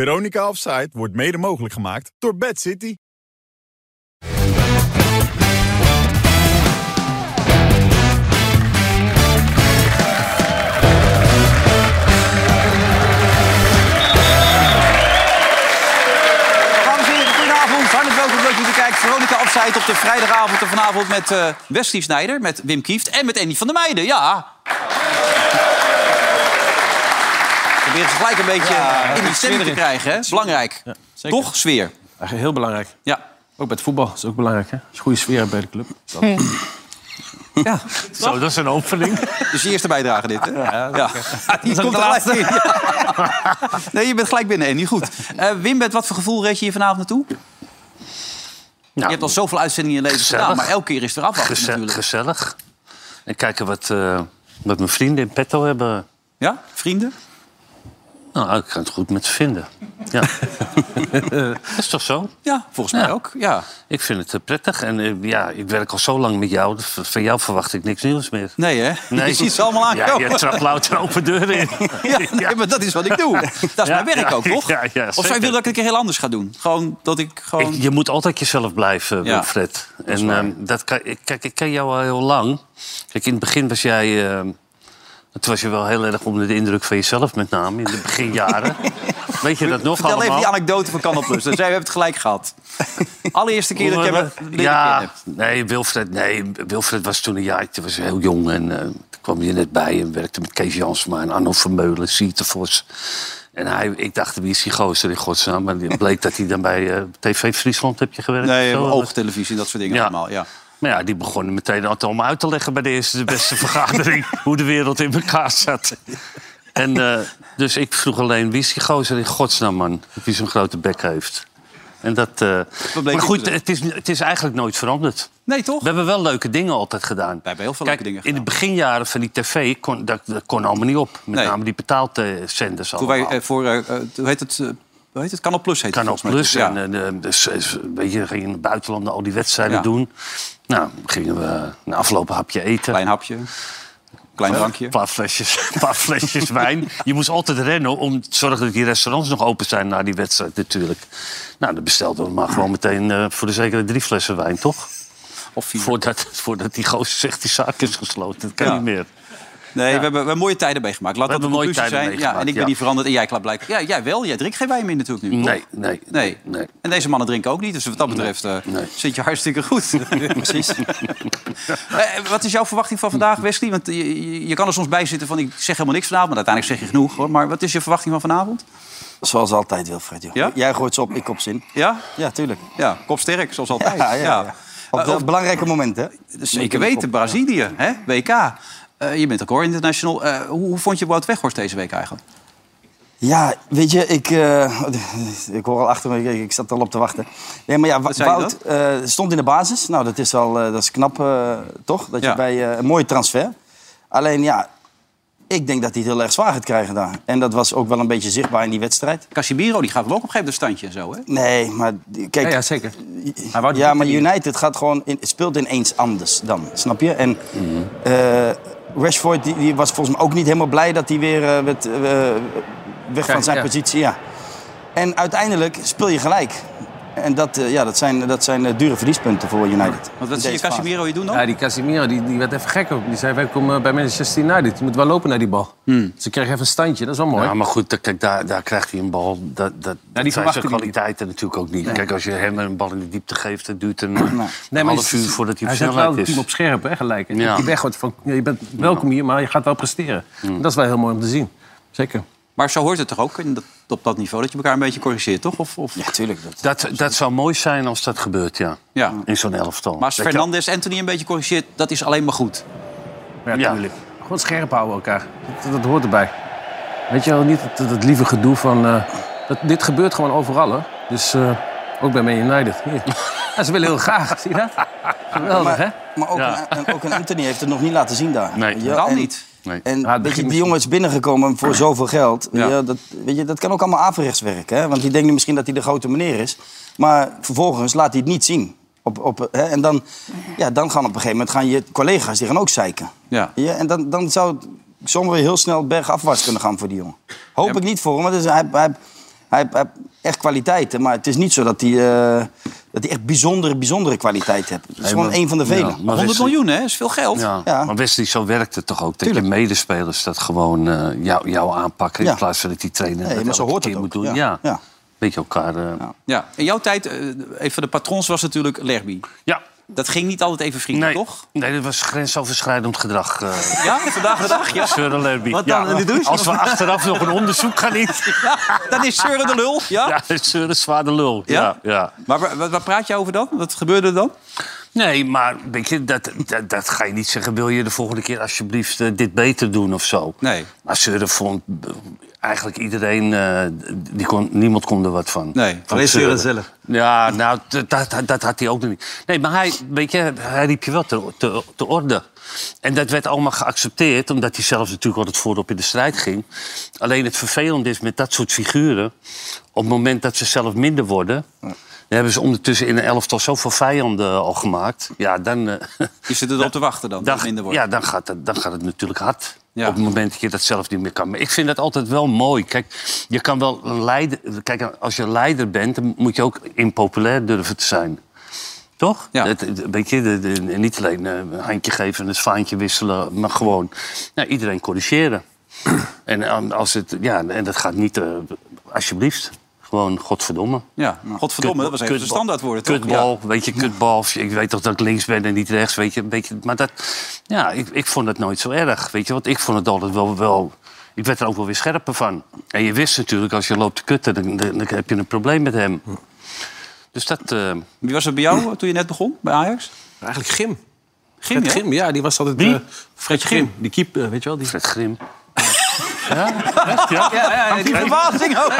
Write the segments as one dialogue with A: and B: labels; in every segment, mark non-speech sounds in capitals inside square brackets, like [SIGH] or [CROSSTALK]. A: Veronica Offside wordt mede mogelijk gemaakt door Bad City.
B: Dames en heren, goedenavond. Hartelijk welkom dat jullie kijken. Veronica Afzijd op de vrijdagavond en vanavond met eh Wesley Snijder, met Wim Kieft en met Andy van der Meijden. Ja. Proberen ze gelijk een beetje eh, in die stemming te krijgen. Hè? Belangrijk.
C: zeker.
B: Toch? Sfeer.
C: Heel belangrijk.
B: Ja.
C: Ook bij het voetbal is ook belangrijk. Hè? Als je goede sfeer hebt bij de club.
B: [LAUGHS] ja.
D: Zo, dat is een opening.
B: Dus je eerste bijdrage dit, hè? Ja. [LAUGHS] Die
C: is ook
B: komt
C: de
B: er laatste in. Nee, je bent gelijk binnen, Andy. Goed. Eh, Wim, met wat voor gevoel reed je hier vanavond naartoe? je hebt al zoveel uitzendingen in je leven
D: Gezellig.
B: gedaan, maar elke keer is er afwachting
D: Geze-
B: natuurlijk.
D: gezellig. En kijken wat, eh, wat mijn vrienden in petto hebben.
B: Ja? Vrienden?
D: Nou, ik kan het goed met ze vinden. Ja.
B: [LAUGHS]
D: dat is toch zo?
B: Ja, volgens mij
D: Ja.
B: ook. Ja.
D: Ik vind het eh, prettig. En eh, ja, ik werk al zo lang met jou. dus v- Van jou verwacht ik niks nieuws meer.
B: Nee, hè? [LAUGHS] Je ziet ze allemaal
D: Ja,
B: aankomen.
D: je trapt louter open deuren in.
B: [LAUGHS] Ja, nee, maar dat is wat ik doe. Dat is mijn werk
D: ja,
B: ook, toch?
D: [LAUGHS] ja, ja,
B: of zou je
D: zeker.
B: willen dat ik een keer heel anders ga doen? Gewoon dat ik gewoon...
D: Ik- je moet altijd jezelf blijven,
B: Ja,
D: Wilfred. En ehm, dat kan, ik- kijk, ik ken jou al heel lang. Kijk, in het begin was jij... ehm, toen was je wel heel erg onder de indruk van jezelf, met name. In de
B: [LAUGHS]
D: beginjaren. Weet je dat nog
B: Vertel even
D: allemaal?
B: die anekdote van Kanal Plus. Dus jij hebt het gelijk gehad. Allereerste keer dat jij me leren
D: ja,
B: kennen.
D: nee Wilfred, nee, Wilfred was toen een jaar, toen was hij heel jong en eh, toen kwam je net bij en werkte met Kees Jansma en Arno Vermeulen, Sietervos. En hij, ik dacht, wie is die gozer in godsnaam? Maar het bleek dat hij dan bij eh, TV Friesland heb je gewerkt. of
B: Nee,
D: zo.
B: oogtelevisie, dat soort dingen
D: Ja.
B: allemaal. Ja.
D: Maar ja, die begonnen meteen het allemaal uit te leggen bij de eerste de
B: [LAUGHS]
D: beste vergadering hoe de wereld in elkaar zat. En eh, dus ik vroeg alleen wie is die gozer in godsnaam man die zo'n grote bek heeft. En dat. eh,
B: bleek
D: maar
B: ook
D: goed,
B: zo.
D: het is, het is eigenlijk nooit veranderd.
B: Nee, toch?
D: We hebben wel leuke dingen altijd gedaan. We
B: hebben heel veel leuke dingen
D: In de beginjaren van die tv kon dat, dat kon allemaal niet op. Met
B: Nee.
D: name die betaalde zenders
B: Toen
D: allemaal.
B: wij eh, voor, eh, eh, hoe heet het, eh, hoe heet het? Kanal Plus heet
D: Kan
B: het
D: ook
B: volgens mij
D: plus.
B: toen.
D: En,
B: Ja.
D: eh, de- dus, eh, weet je, gingen in het buitenland al die wedstrijden
B: Ja.
D: doen. Nou, gingen we na afloop een hapje eten.
B: Klein hapje, klein drankje.
D: Een paar flesjes, een paar
B: [LAUGHS]
D: flesjes wijn. Je moest altijd rennen om te zorgen dat die restaurants nog open zijn na die wedstrijd natuurlijk. Nou, dan bestelden we maar gewoon meteen eh, voor de zekere drie flessen wijn, toch?
B: Of vier.
D: Voordat, voordat die gozer zegt die zaak is gesloten. Dat kan
B: Ja.
D: niet meer.
B: Nee, we, hebben, we hebben mooie tijden meegemaakt. Laat
D: We
B: dat de
D: hebben mooie
B: conclusie zijn.
D: tijden
B: Ja, en ik
D: meegemaakt,
B: ben
D: ja.
B: niet veranderd en jij blijkt. Ja, jij wel. Jij drinkt geen wijn meer natuurlijk nu. toch?
D: Nee, nee,
B: Nee.
D: nee.
B: En deze mannen drinken ook niet, dus wat dat betreft eh,
D: nee.
B: zit je hartstikke
D: [LAUGHS]
B: goed. [LAUGHS] Precies. wat is jouw verwachting van vandaag, Wesley? Want je, je- je kan er soms bij zitten van ik zeg helemaal niks vanavond, maar uiteindelijk zeg je genoeg. Hoor. Maar wat is je verwachting van vanavond?
E: Zoals altijd, Wilfred. Joh.
B: Ja?
E: Jij gooit ze op, ik op zin.
B: Ja?
E: Ja, tuurlijk.
B: Ja, kopsterk, zoals altijd.
E: Ja, ja, ja. Op
B: Eh,
E: dat
B: of-
E: belangrijke moment, hè?
B: zeker weten, Brazilië, hè? WK. Eh, je bent ook hoor international. Eh, hoe, hoe vond je Wout Weghorst deze week eigenlijk?
E: Ja, weet je, ik, eh, [LAUGHS] ik hoor al achter me, ik, ik zat al op te wachten. Nee, maar ja, Wa-
B: zei je
E: Wout eh, stond in de basis. Nou, dat is wel eh, dat is knap, eh, toch? Dat
B: Ja.
E: je bij eh, een mooie transfer. Alleen ja, ik denk dat hij het heel erg zwaar gaat krijgen daar. En dat was ook wel een beetje zichtbaar in die wedstrijd.
B: Casimiro, die gaf hem ook op een gegeven moment een standje en zo, hè?
E: Nee, maar die- kijk,
C: zeker.
E: Ja,
C: wou die
E: maar
C: niet.
E: United gaat gewoon in, speelt ineens anders dan, snap je? En
B: Mhm.
E: eh, Rashford die, die was volgens mij ook niet helemaal blij dat hij weer eh, werd, eh, weg
C: Kijk,
E: van zijn
C: ja.
E: positie. Ja. En uiteindelijk speel je gelijk. En dat, eh, ja, dat zijn, dat zijn eh, dure verliespunten voor United.
B: Want wat
E: In
B: zie je
E: deze fase.
B: Casimiro je doen dan?
C: Ja, die Casimiro die, die werd even gek. op. Die zei, wij komen bij Manchester United. Je moet wel lopen naar die bal.
B: Hmm.
C: Ze kreeg even een standje, dat is wel mooi.
D: Ja, maar goed, da- kijk, daar, daar krijgt hij een bal. Dat, dat, dat zijn
C: verwachten
D: zijn
C: die
D: kwaliteiten natuurlijk ook niet. Kijk, als je hem een bal in de diepte geeft, dat duurt een, een
C: maar
D: half
C: je-
D: uur voordat hij
C: Hij
D: op
C: zet wel
D: snelheid
C: het
D: is.
C: team op scherp, hè, gelijk. En
D: Ja.
C: Die weg wordt van, ja, je bent welkom hier, maar je gaat wel presteren.
D: Hmm.
C: Dat is wel heel mooi om te zien. Zeker.
B: Maar zo hoort het toch ook in dat- op dat niveau dat je elkaar een beetje corrigeert, toch? Of, of...
E: Ja, tuurlijk. Dat.
D: Dat, dat zou mooi zijn als dat gebeurt, ja.
B: Ja.
D: In zo'n elftal.
B: Maar als
D: Dat je-
B: Fernandes Anthony een beetje corrigeert, dat is alleen maar goed.
C: Ja,
D: Ja.
C: natuurlijk. Gewoon scherp houden elkaar. Dat, dat hoort erbij. Weet je wel, niet dat, dat lieve gedoe van... eh, dat, dit gebeurt gewoon overal, hè. Dus eh, ook bij Man United. Hier. Ja, ze willen heel graag, zie je dat? Geweldig, hè?
E: Maar, maar ook, een, en ook een Anthony heeft het nog niet laten zien daar.
D: Nee.
E: Weet je wel?
B: Kan
E: En-
B: niet.
D: Nee.
E: En
C: Ja, het
E: weet je,
C: begin
E: die jongen is binnengekomen voor zoveel geld.
B: Ja.
E: Ja. dat, weet je, dat kan ook allemaal averechts werken. Hè? Want die denkt nu misschien dat hij de grote meneer is. Maar vervolgens laat hij het niet zien. Op, op, hè? En dan, ja, dan gaan op een gegeven moment gaan je collega's die gaan ook zeiken.
B: Ja.
E: Ja, en dan, dan zou het zomaar weer heel snel bergafwaarts kunnen gaan voor die jongen. Hoop ik niet voor hem, want hij, hij, Hij, hij heeft echt kwaliteiten, maar het is niet zo dat hij, eh, dat hij echt bijzondere, bijzondere kwaliteit heeft. Het is gewoon
D: maar-
E: één van de velen.
D: Ja, maar
B: 100
D: Wesley-
B: miljoen, hè? is veel geld.
D: Ja,
E: Ja.
D: maar Wesley, zo werkt het toch ook? Dat je medespelers dat gewoon eh, jou, jou aanpakken...
E: Ja.
D: in plaats van dat die trainer
E: Nee,
D: dat
E: maar zo
D: elke
E: hoort
D: keer
E: het
D: moet
E: ook.
D: doen.
E: Ja.
D: Ja.
E: Ja.
D: Beetje elkaar... eh, ja.
B: Ja. In jouw tijd, eh, een van de patrons was natuurlijk Lerby. Dat ging niet altijd even vriendelijk,
D: Nee,
B: toch?
D: nee, dat was grensoverschrijdend gedrag. eh
B: Ja, vandaag de dag, ja.
D: Sir Lerby.
B: Wat dan, in de douche?
D: Als we achteraf nog een onderzoek gaan in...
B: ja [LAUGHS] dan is Seuren de lul, ja.
D: Ja, Sir is zwaar de lul. Ja? Ja,
B: Maar waar, waar- waar praat je over dan? Wat gebeurde er dan?
D: Nee, maar weet je, dat, dat, dat ga je niet zeggen. Wil je de volgende keer alsjeblieft eh, dit beter doen of zo?
B: Nee.
D: Maar Seuren vond eh, eigenlijk iedereen... eh, die kon, niemand kon er wat van.
B: Nee,
D: Van
B: alleen
D: Seuren.
B: Seuren
D: Ja, nou, dat, dat, dat had hij ook nog niet. Nee, maar hij, weet je, hij riep je wel te, te, te orde. En dat werd allemaal geaccepteerd... omdat hij zelf natuurlijk altijd voorop in de strijd ging. Alleen het vervelende is met dat soort figuren... op het moment dat ze zelf minder worden... Dan hebben ze ondertussen in een elftal zoveel vijanden al gemaakt. Ja,
B: [LAUGHS]
D: dan, eh,
B: Je zit erop te wachten dan, dat het minder wordt.
D: ja, dan gaat het, dan gaat het natuurlijk hard.
B: Ja.
D: Op het moment dat je dat zelf niet meer kan. Maar ik vind dat altijd wel mooi. Kijk, je kan wel een leider. Kijk, als je leider bent, dan moet je ook impopulair durven te zijn. Toch?
B: Ja.
D: Het- het- weet je, de- de- niet alleen eh, een handje geven en een zwaantje wisselen, maar gewoon nou, iedereen corrigeren. [CLEARS THROAT] en, eh, als het, ja, en dat gaat niet, eh, alsjeblieft. Gewoon, godverdomme.
B: Ja, godverdomme, dat was even een
D: Kutbal-
B: standaardwoord. toch? Ja.
D: Kutbal, weet je, kutbal. Ik weet toch dat ik links ben en niet rechts, weet je. Een beetje, maar dat, ja, ik, ik vond het nooit zo erg, weet je. Want ik vond het altijd wel, wel... Ik werd er ook wel weer scherper van. En je wist natuurlijk, als je loopt te kutten, dan, dan, dan heb je een probleem met hem. Dus dat... eh,
B: Wie was er bij jou eh, toen je net begon, bij Ajax?
C: Eigenlijk Gim.
B: Gim,
C: Fred
B: [LAUGHS] ja?
C: Gim, ja, die was altijd...
D: Wie?
C: eh, Fred Gim, die keep, eh, weet je wel? Die...
D: Fred Grim.
C: Ja, ja, ja, die
B: Verbazing ook.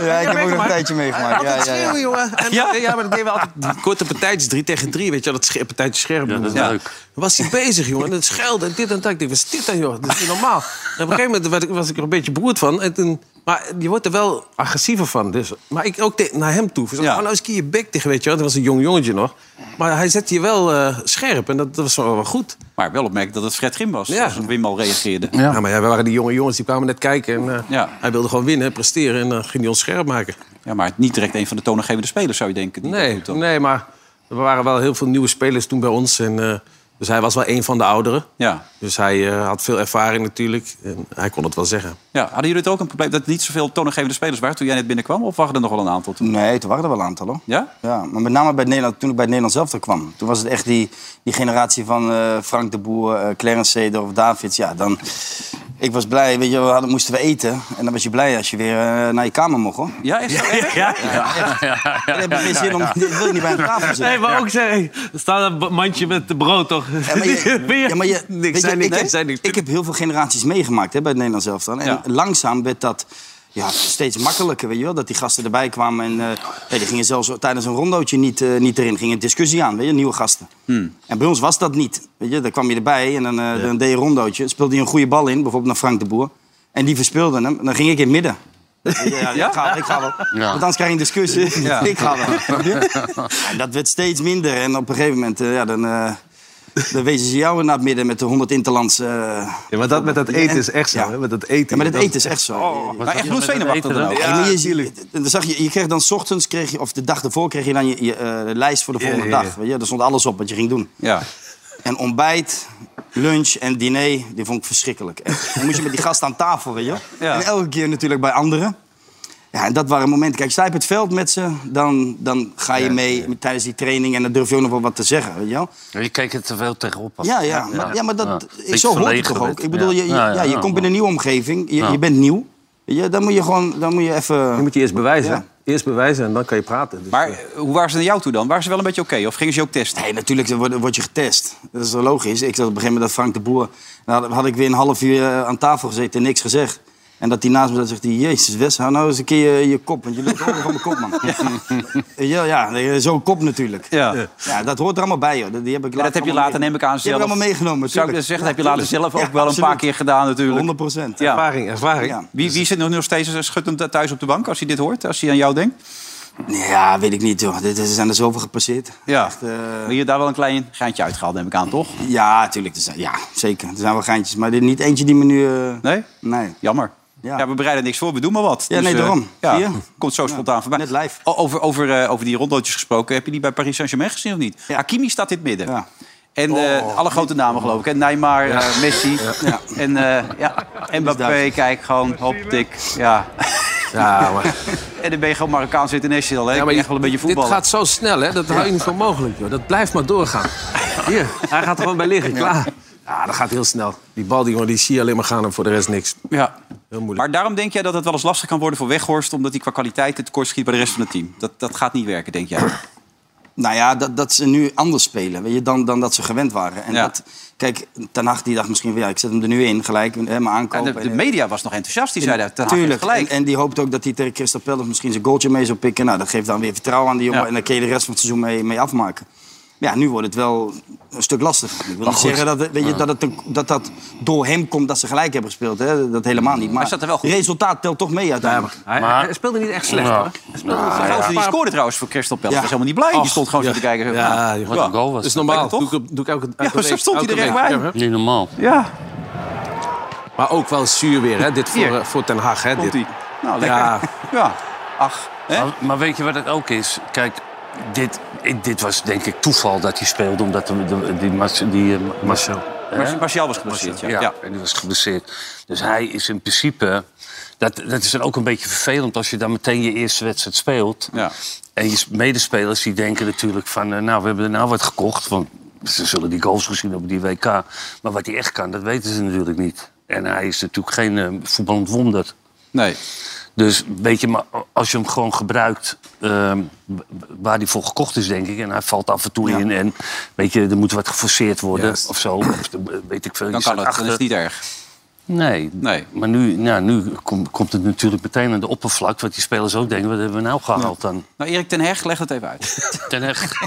E: Ja, ik heb ook nog een tijdje meegemaakt. Ja,
C: Altijd
E: ja, ja.
C: schreeuwen, jongen. En, eh,
B: Ja.
C: ja. maar dat deden we altijd die korte partijtjes, drie tegen drie. Weet je wel, dat sche- partijtje scherp.
D: Ja, dat is
B: Ja.
D: leuk.
C: Dan was hij bezig, jongen. En het schelde en dit en dat. Ik dacht, wat is dit dan, joh? Dat is niet normaal. En op een gegeven moment werd ik- was ik er een beetje beroerd van. En toen, maar je wordt er wel agressiever van. Dus. Maar ik ook te- naar hem toe. Van,
B: Ja.
C: oh, nou eens een keer je bek tegen, weet je wel. Dat was een jong jongetje nog. Maar hij zette je wel eh, scherp. En dat, dat was wel, wel goed.
B: Maar wel opmerkelijk dat het Fred Grim was,
C: Ja.
B: als Wim al reageerde.
C: Ja. maar ja, we waren die jonge jongens, die kwamen net kijken. En, eh,
B: Ja.
C: Hij wilde gewoon winnen, presteren. En dan ging hij ons scherp maken.
B: Ja, maar niet direct een van de toonaangevende spelers, zou je denken. die dat
C: Nee,
B: doet dan.
C: nee, maar er waren wel heel veel nieuwe spelers toen bij ons. En, eh, dus hij was wel een van de ouderen.
B: Ja.
C: Dus hij eh, had veel ervaring natuurlijk. En hij kon het wel zeggen.
B: ja. Hadden jullie het ook een probleem dat er niet zoveel toonaangevende spelers waren toen jij net binnenkwam? Of waren er nog wel een aantal toen?
E: Nee, toen waren er wel een aantal, hoor.
B: Ja?
E: Ja, maar met name bij Nederland, toen ik bij Nederland zelf er kwam. Toen was het echt die, die generatie van eh, Frank de Boer, eh, Clarence Seedorf, of Davids. Ja, dan... Ik was blij, weet je, we hadden, moesten we eten. En dan was je blij als je weer eh, naar je kamer mocht, hoor.
B: Ja, echt zo erg?
E: Dan heb je geen zin om... Dan wil je niet bij een tafel zitten.
F: Nee, maar ook zeggen, er staat een mandje met de brood toch?
E: Ja, maar
C: [LAUGHS]
G: [LAUGHS]
E: je,
F: Ben je-
E: ja, maar je, weet je,
C: zei niks,
E: ik,
C: ik zei niks.
E: ik heb heel veel generaties meegemaakt hè, bij het Nederlands elftal. En
B: Ja.
E: langzaam werd dat ja, steeds makkelijker, weet je wel. Dat die gasten erbij kwamen en eh, hey, die gingen zelfs tijdens een rondootje niet, eh, niet erin. Gingen discussie aan, weet je, nieuwe gasten.
B: Hmm.
E: En bij ons was dat niet, weet je. Dan kwam je erbij en dan, eh, dan deed je een rondootje. Speelde je een goede bal in, bijvoorbeeld naar Frank de Boer. En die verspeelde hem. Dan ging ik in het midden. Ja, ja, Ik, ga, ik ga wel. Want anders krijg je een [LAUGHS] discussie.
B: Ja.
E: Ik ga wel. En dat werd steeds minder. En op een gegeven moment, eh, ja, dan... eh, dan wezen ze jou naar het midden met de 100 Interlands. eh.
G: Ja, maar dat met dat eten is echt zo.
E: Ja.
G: Hè? Met dat eten.
E: Ja, maar dit
G: dat-
E: eten is echt zo. Ja,
B: Oh. Maar echt bloedzenuwachtig dan ook.
E: ja, maar je, dan zag je, je kreeg dan 's ochtends, kreeg je, of de dag ervoor, kreeg je dan je, je, eh, lijst voor de volgende
G: ja, ja.
E: dag. Weet je? Daar stond alles op wat je ging doen.
B: Ja.
E: En ontbijt, lunch en diner, die vond ik verschrikkelijk. En dan moest je met die gasten aan tafel, weet je.
B: Ja.
E: En elke keer natuurlijk bij anderen. Ja, en dat waren momenten. Kijk, sta je op het veld met ze, dan, dan ga je mee tijdens die training... en dan durf je ook nog wel wat te zeggen, weet je wel.
D: Je keek er te veel tegenop.
E: Ja, ja. Maar, ja, maar dat,
D: Beetje
E: ik, zo hoort het
D: verlegen
E: toch ook?
D: werd.
E: Ik bedoel, je, je,
D: Ja,
E: ja,
D: ja,
E: je
D: ja.
E: komt in een nieuwe omgeving. Je,
D: Ja.
E: je bent nieuw. Je, dan moet je gewoon, dan moet je
C: Je
E: even...
C: moet je eerst bewijzen.
E: Ja.
C: hè? Eerst bewijzen en dan kan je praten. Dus,
B: Maar
C: eh,
B: eh, hoe waren ze naar jou toe dan? Waren ze wel een beetje oké? Of gingen ze je ook testen?
E: Nee, natuurlijk dan word, word je getest. Dat is wel logisch. Ik zat op een gegeven moment dat Frank de Boer... Dan had, had ik weer een half uur eh, aan tafel gezeten en niks gezegd. En dat hij naast me zat, zegt hij... Jezus, Wes, hou nou eens een keer je, je kop. Want je loopt altijd gewoon mijn kop, man.
B: [LAUGHS]
E: Ja, ja, ja zo'n kop natuurlijk.
B: Ja.
E: Ja, dat hoort er allemaal bij, joh. Die heb ik
B: Ja, dat heb je
E: allemaal
B: later,
E: mee-
B: neem ik aan,
E: Die heb
B: zelf.
E: ik allemaal meegenomen,
B: Zou ik
E: tuurlijk.
B: zeggen, dat heb je
E: Ja,
B: later
E: tuurlijk.
B: zelf ook
E: Ja,
B: wel een paar
E: absoluut.
B: keer gedaan natuurlijk.
E: 100 procent.
B: Ja.
C: ervaring, ervaring.
E: Ja. Dus
B: Wie, wie zit er nog steeds schuttend thuis op de bank als hij dit hoort? Als hij aan jou denkt?
E: Ja, weet ik niet, joh. Dit- Er zijn er zoveel gepasseerd.
B: Ja.
E: Echt, eh,
B: Maar je daar wel een klein geintje uitgehaald, neem ik aan, toch?
E: Dus, ja, tuurlijk. Er zijn, ja, zeker. Er zijn wel geintjes. Maar er- niet eentje die me nu... eh,
B: Nee?
E: Nee.
B: Jammer.
E: Ja.
B: Ja, we bereiden niks voor, we doen maar wat.
E: Ja, nee,
B: eh,
E: daarom.
B: ja,
E: Zie je?
B: komt zo spontaan voorbij.
E: net live.
B: O- Over, over, eh, over die rondootjes gesproken, heb je die bij Paris Saint-Germain gezien of niet?
E: Ja.
B: Hakimi staat in het midden.
E: Ja. Oh,
B: En eh, alle grote namen geloof ik. hè? Neymar, eh, Messi
E: Ja.
B: en eh ja, Mbappé.
E: duidelijk.
B: Kijk, gewoon hop, tik. Ja.
C: Ja, maar,
B: [LAUGHS] En dan ben je gewoon Marokkaans international. Hè? Ja, maar je echt wel een beetje
C: dit
B: voetballen.
C: gaat zo snel, hè? Dat hou je niet voor mogelijk, joh. Dat blijft maar doorgaan. Hier, hij gaat er gewoon bij liggen, klaar. Ja, Ah, dat gaat heel snel. Die bal, die, jongen, die zie je alleen maar gaan en voor de rest niks.
B: Ja.
C: Heel moeilijk.
B: Maar daarom denk jij dat het wel eens lastig kan worden voor Weghorst... omdat hij qua kwaliteit het tekort schiet bij de rest van het team. Dat, dat gaat niet werken,
C: [CLEARS THROAT]
B: denk jij.
E: Nou ja, dat, dat ze nu anders spelen weet je, dan, dan dat ze gewend waren. En
B: Ja.
E: dat, kijk, Ten Hag die dacht misschien wel, ja, ik zet hem er nu in, gelijk,
C: eh,
E: hè, maar
B: En
E: aankopen.
B: de, de media was nog enthousiast. Die zei dat Ten Hag heeft
E: Tuurlijk.
B: gelijk.
E: En, en die hoopt ook dat hij tegen Crystal Palace misschien zijn goaltje mee zou pikken. Nou, dat geeft dan weer vertrouwen aan die jongen.
B: Ja.
E: En dan kun je de rest van het seizoen mee, mee afmaken. Ja, nu wordt het wel een stuk lastiger. Ik wil niet zeggen dat, het- weet je, dat, het, een- dat dat door hem komt dat ze gelijk hebben gespeeld. Hè? Dat helemaal niet. Maar
B: hij staat er wel goed.
E: het resultaat telt toch mee uiteindelijk.
F: Hij,
D: Maar-
F: hij speelde niet echt slecht, hoor.
B: Die gozer die scoorde trouwens voor Crystal Palace.
E: Ja.
B: was helemaal niet blij. Die stond gewoon zo te kijken.
C: Ja, joh.
D: Wat een goal was
C: Dat is
D: dat.
C: normaal.
B: Lekker,
C: Doe
B: toch?
C: ik, op- doe ik elke, elke
B: maar zo
C: week,
B: stond hij
C: elke
B: er echt
C: week.
B: bij.
C: Ja, hè?
D: Niet normaal.
B: Ja,
C: maar ook wel zuur weer, hè? Dit voor,
B: Hier.
C: eh, voor Ten Hag, hè?
B: komt
C: Dit.
B: hij. Nou, lekker. Ja.
C: Ja.
B: Ach, hè?
D: Maar, maar weet je wat het ook is? Kijk, dit, ik- dit was denk ik toeval dat hij speelde. Omdat de, de- die, Mas- die, eh, Marcel...
B: Mar- Martial was geblesseerd. Ja.
D: Ja,
B: Ja.
D: en die was geblesseerd. Dus hij is in principe... Dat, dat is dan ook een beetje vervelend als je dan meteen je eerste wedstrijd speelt.
B: Ja.
D: En je medespelers die denken natuurlijk van... eh, nou, we hebben er nou wat gekocht. Want ze zullen die goals gezien hebben, die WK. Maar wat hij echt kan, dat weten ze natuurlijk niet. En hij is natuurlijk geen eh, voetballend wonder.
B: Nee.
D: Dus weet je, maar als je hem gewoon gebruikt ehm, b- waar hij voor gekocht is, denk ik. En hij valt af en toe in. En weet je, er moet wat geforceerd worden
C: Juist.
D: of zo. Of, eh, weet ik veel. je
B: Dan
D: staat
B: kan het. Dan is
D: achter.
B: het niet erg.
D: Nee,
B: Nee.
D: maar nu, nou, nu kom- komt het natuurlijk meteen aan de oppervlak. Wat die spelers ook denken, wat hebben we nou gehaald dan?
B: Nou, Erik ten Heg, leg het even uit.
C: [LAUGHS]
D: Ten Hag.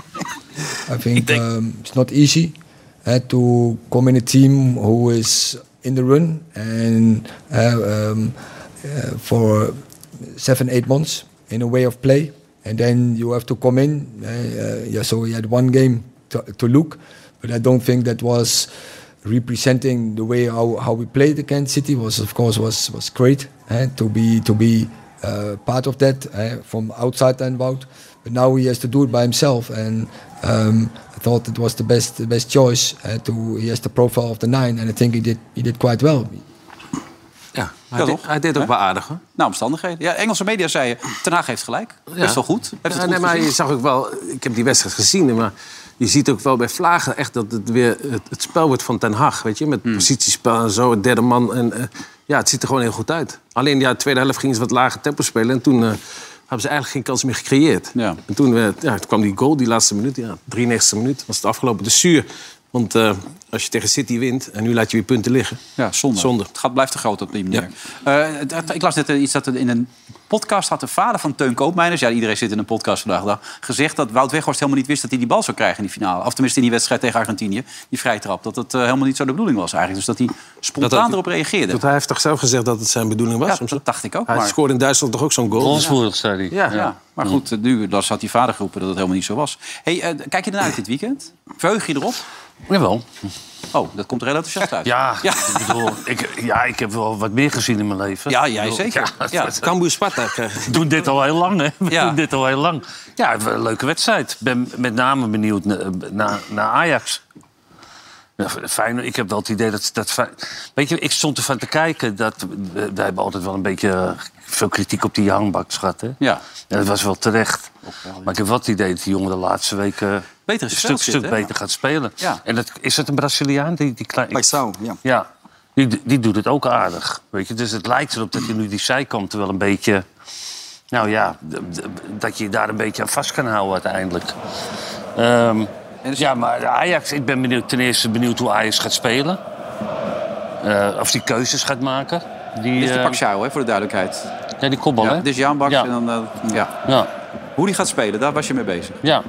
H: I think um, it's not easy uh, to come in a team who is in the run and uh, um, uh, for seven, eight months in a way of play, and then you have to come in. Uh, uh, yeah, so we had one game to, to look, but I don't think that was representing the way how, how we played against City was of course was was great eh, to be to be uh, part of that eh, from outside and out. But now he has to do it by himself, and um, I thought it was the best the best choice. eh, to he has the profile of the nine, and I think he did he did quite well.
C: Ja, hij,
B: Ja,
C: deed-
B: toch?
C: hij deed ook wel aardig, hoor.
B: Nou, omstandigheden. Ja, Engelse media zeiden, ten Hag heeft gelijk. Best wel goed. Heeft het
C: Ja,
B: goed
C: nee, maar
B: gezien.
C: je zag ook wel, ik heb die wedstrijd gezien, maar je ziet ook wel bij Vlagen echt dat het weer het, het spel wordt van Den Haag. Weet je, met
B: Hmm.
C: positiespel en zo, het derde man. En, eh, ja, het ziet er gewoon heel goed uit. Alleen ja, de tweede helft gingen ze wat lager tempo spelen en toen. eh, hebben ze eigenlijk geen kans meer gecreëerd.
B: Ja.
C: En toen, eh, ja, toen kwam die goal, die laatste minuut. Ja, 93e minuut was het afgelopen. Dus zuur. Want eh, als je tegen City wint en nu laat je weer punten liggen.
B: Ja, zonde.
C: Zonde.
B: Het gaat, blijft te groot op die manier. Eh, dat- ik las net eh, iets dat er in een podcast had de vader van Teun Koopmeiners... ja, iedereen zit in een podcast vandaag de dag... gezegd dat Wout Weghorst helemaal niet wist dat hij die bal zou krijgen in die finale. Of tenminste in die wedstrijd tegen Argentinië, die vrijtrap. Dat dat eh, helemaal niet zo de bedoeling was eigenlijk. Dus dat hij spontaan
C: Dat had-
B: erop reageerde.
C: Want hij heeft toch zelf gezegd dat het zijn bedoeling was?
B: Ja,
C: Soms-
B: dat dacht ik ook.
C: hij
B: Maar,
C: scoorde in Duitsland toch ook zo'n goal?
D: Wolfsburg, zei hij.
C: Ja.
B: ja. maar goed, eh, nu las had die vader geroepen dat het helemaal niet zo was. Hey, eh, kijk je ernaar uit dit weekend? Verheug je erop?
D: Jawel.
B: Oh, dat komt er heel enthousiast uit.
D: Ja,
B: Ja.
D: Ik, bedoel, ik, ja, ik heb wel wat meer gezien in mijn leven.
B: Ja, jij
D: Ik bedoel,
B: zeker. Ja. eh,
D: dat-
C: Cambuur Sparta krijgen.
D: We doen dit al heel lang, hè? We
B: Ja.
D: doen dit al heel lang. Ja, een leuke wedstrijd. ben met name benieuwd na- naar naar Ajax. Ja, Feyenoord, ik heb wel het idee dat... dat Fey- Weet je, ik stond ervan te kijken dat... we- Wij hebben altijd wel een beetje eh, veel kritiek op die hangbaks gehad, hè?
B: Ja.
D: En dat was wel terecht. Maar ik heb wel het idee dat die jongen de laatste weken...
B: Beter in
D: een
B: het
D: stuk,
B: veld zit,
D: stuk
B: hè?
D: beter gaat spelen.
B: Ja.
D: En dat, is dat een Braziliaan? Die, die klein,
E: Maar zou, ja.
D: ja, die, die doet het ook aardig. Weet je? Dus het lijkt erop dat je nu die zijkant wel een beetje. Nou ja, d- d- dat je je daar een beetje aan vast kan houden uiteindelijk. Ehm,
B: dus-
D: ja, maar Ajax, ik ben benieuwd, ten eerste benieuwd hoe Ajax gaat spelen. Eh, of die keuzes gaat maken. Die,
B: Dit is de
D: eh,
B: Pak Sjouw, hè, voor de duidelijkheid.
D: ja, die kopbal,
B: Ja,
D: hè?
B: dit is Jan Baks
D: Ja.
B: en dan... eh, ja.
D: Ja.
B: Hoe die gaat spelen, daar was je mee bezig.
D: Ja.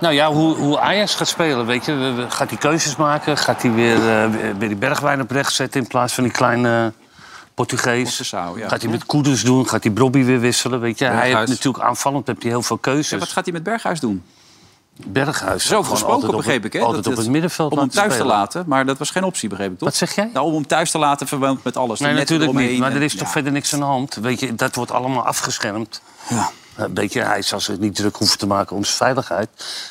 D: Nou ja, hoe, hoe Ajax gaat spelen, weet je. We- we- Gaat hij keuzes maken? Gaat hij weer, eh, weer- weer die Bergwijn oprecht zetten in plaats van die kleine Portugees?
B: Portugees, ja.
D: Gaat hij met Kudus doen? Gaat hij Brobby weer wisselen? Weet je, hij heeft
C: Berghuis.
D: natuurlijk aanvallend heb hij heel veel keuzes.
B: Wat gaat hij met Berghuis doen?
D: Berghuis.
B: Er is over
D: Nou, gewoon
B: gesproken,
D: altijd op
B: begreep ik. Hè?
D: Altijd
B: Dat
D: op het middenveld
B: Om hem
D: laten
B: thuis te
D: spelen.
B: laten, maar dat was geen optie, begreep ik toch?
D: Wat zeg jij?
B: Nou, om hem thuis te laten, verwant met alles.
D: Nee,
B: Die netten
D: natuurlijk niet.
B: eromheen
D: Maar
B: en-
D: er is toch
B: Ja.
D: verder niks aan de hand. Weet je, dat wordt allemaal afgeschermd.
E: Ja.
D: Een beetje, hij zal zich niet druk hoeven te maken om zijn veiligheid.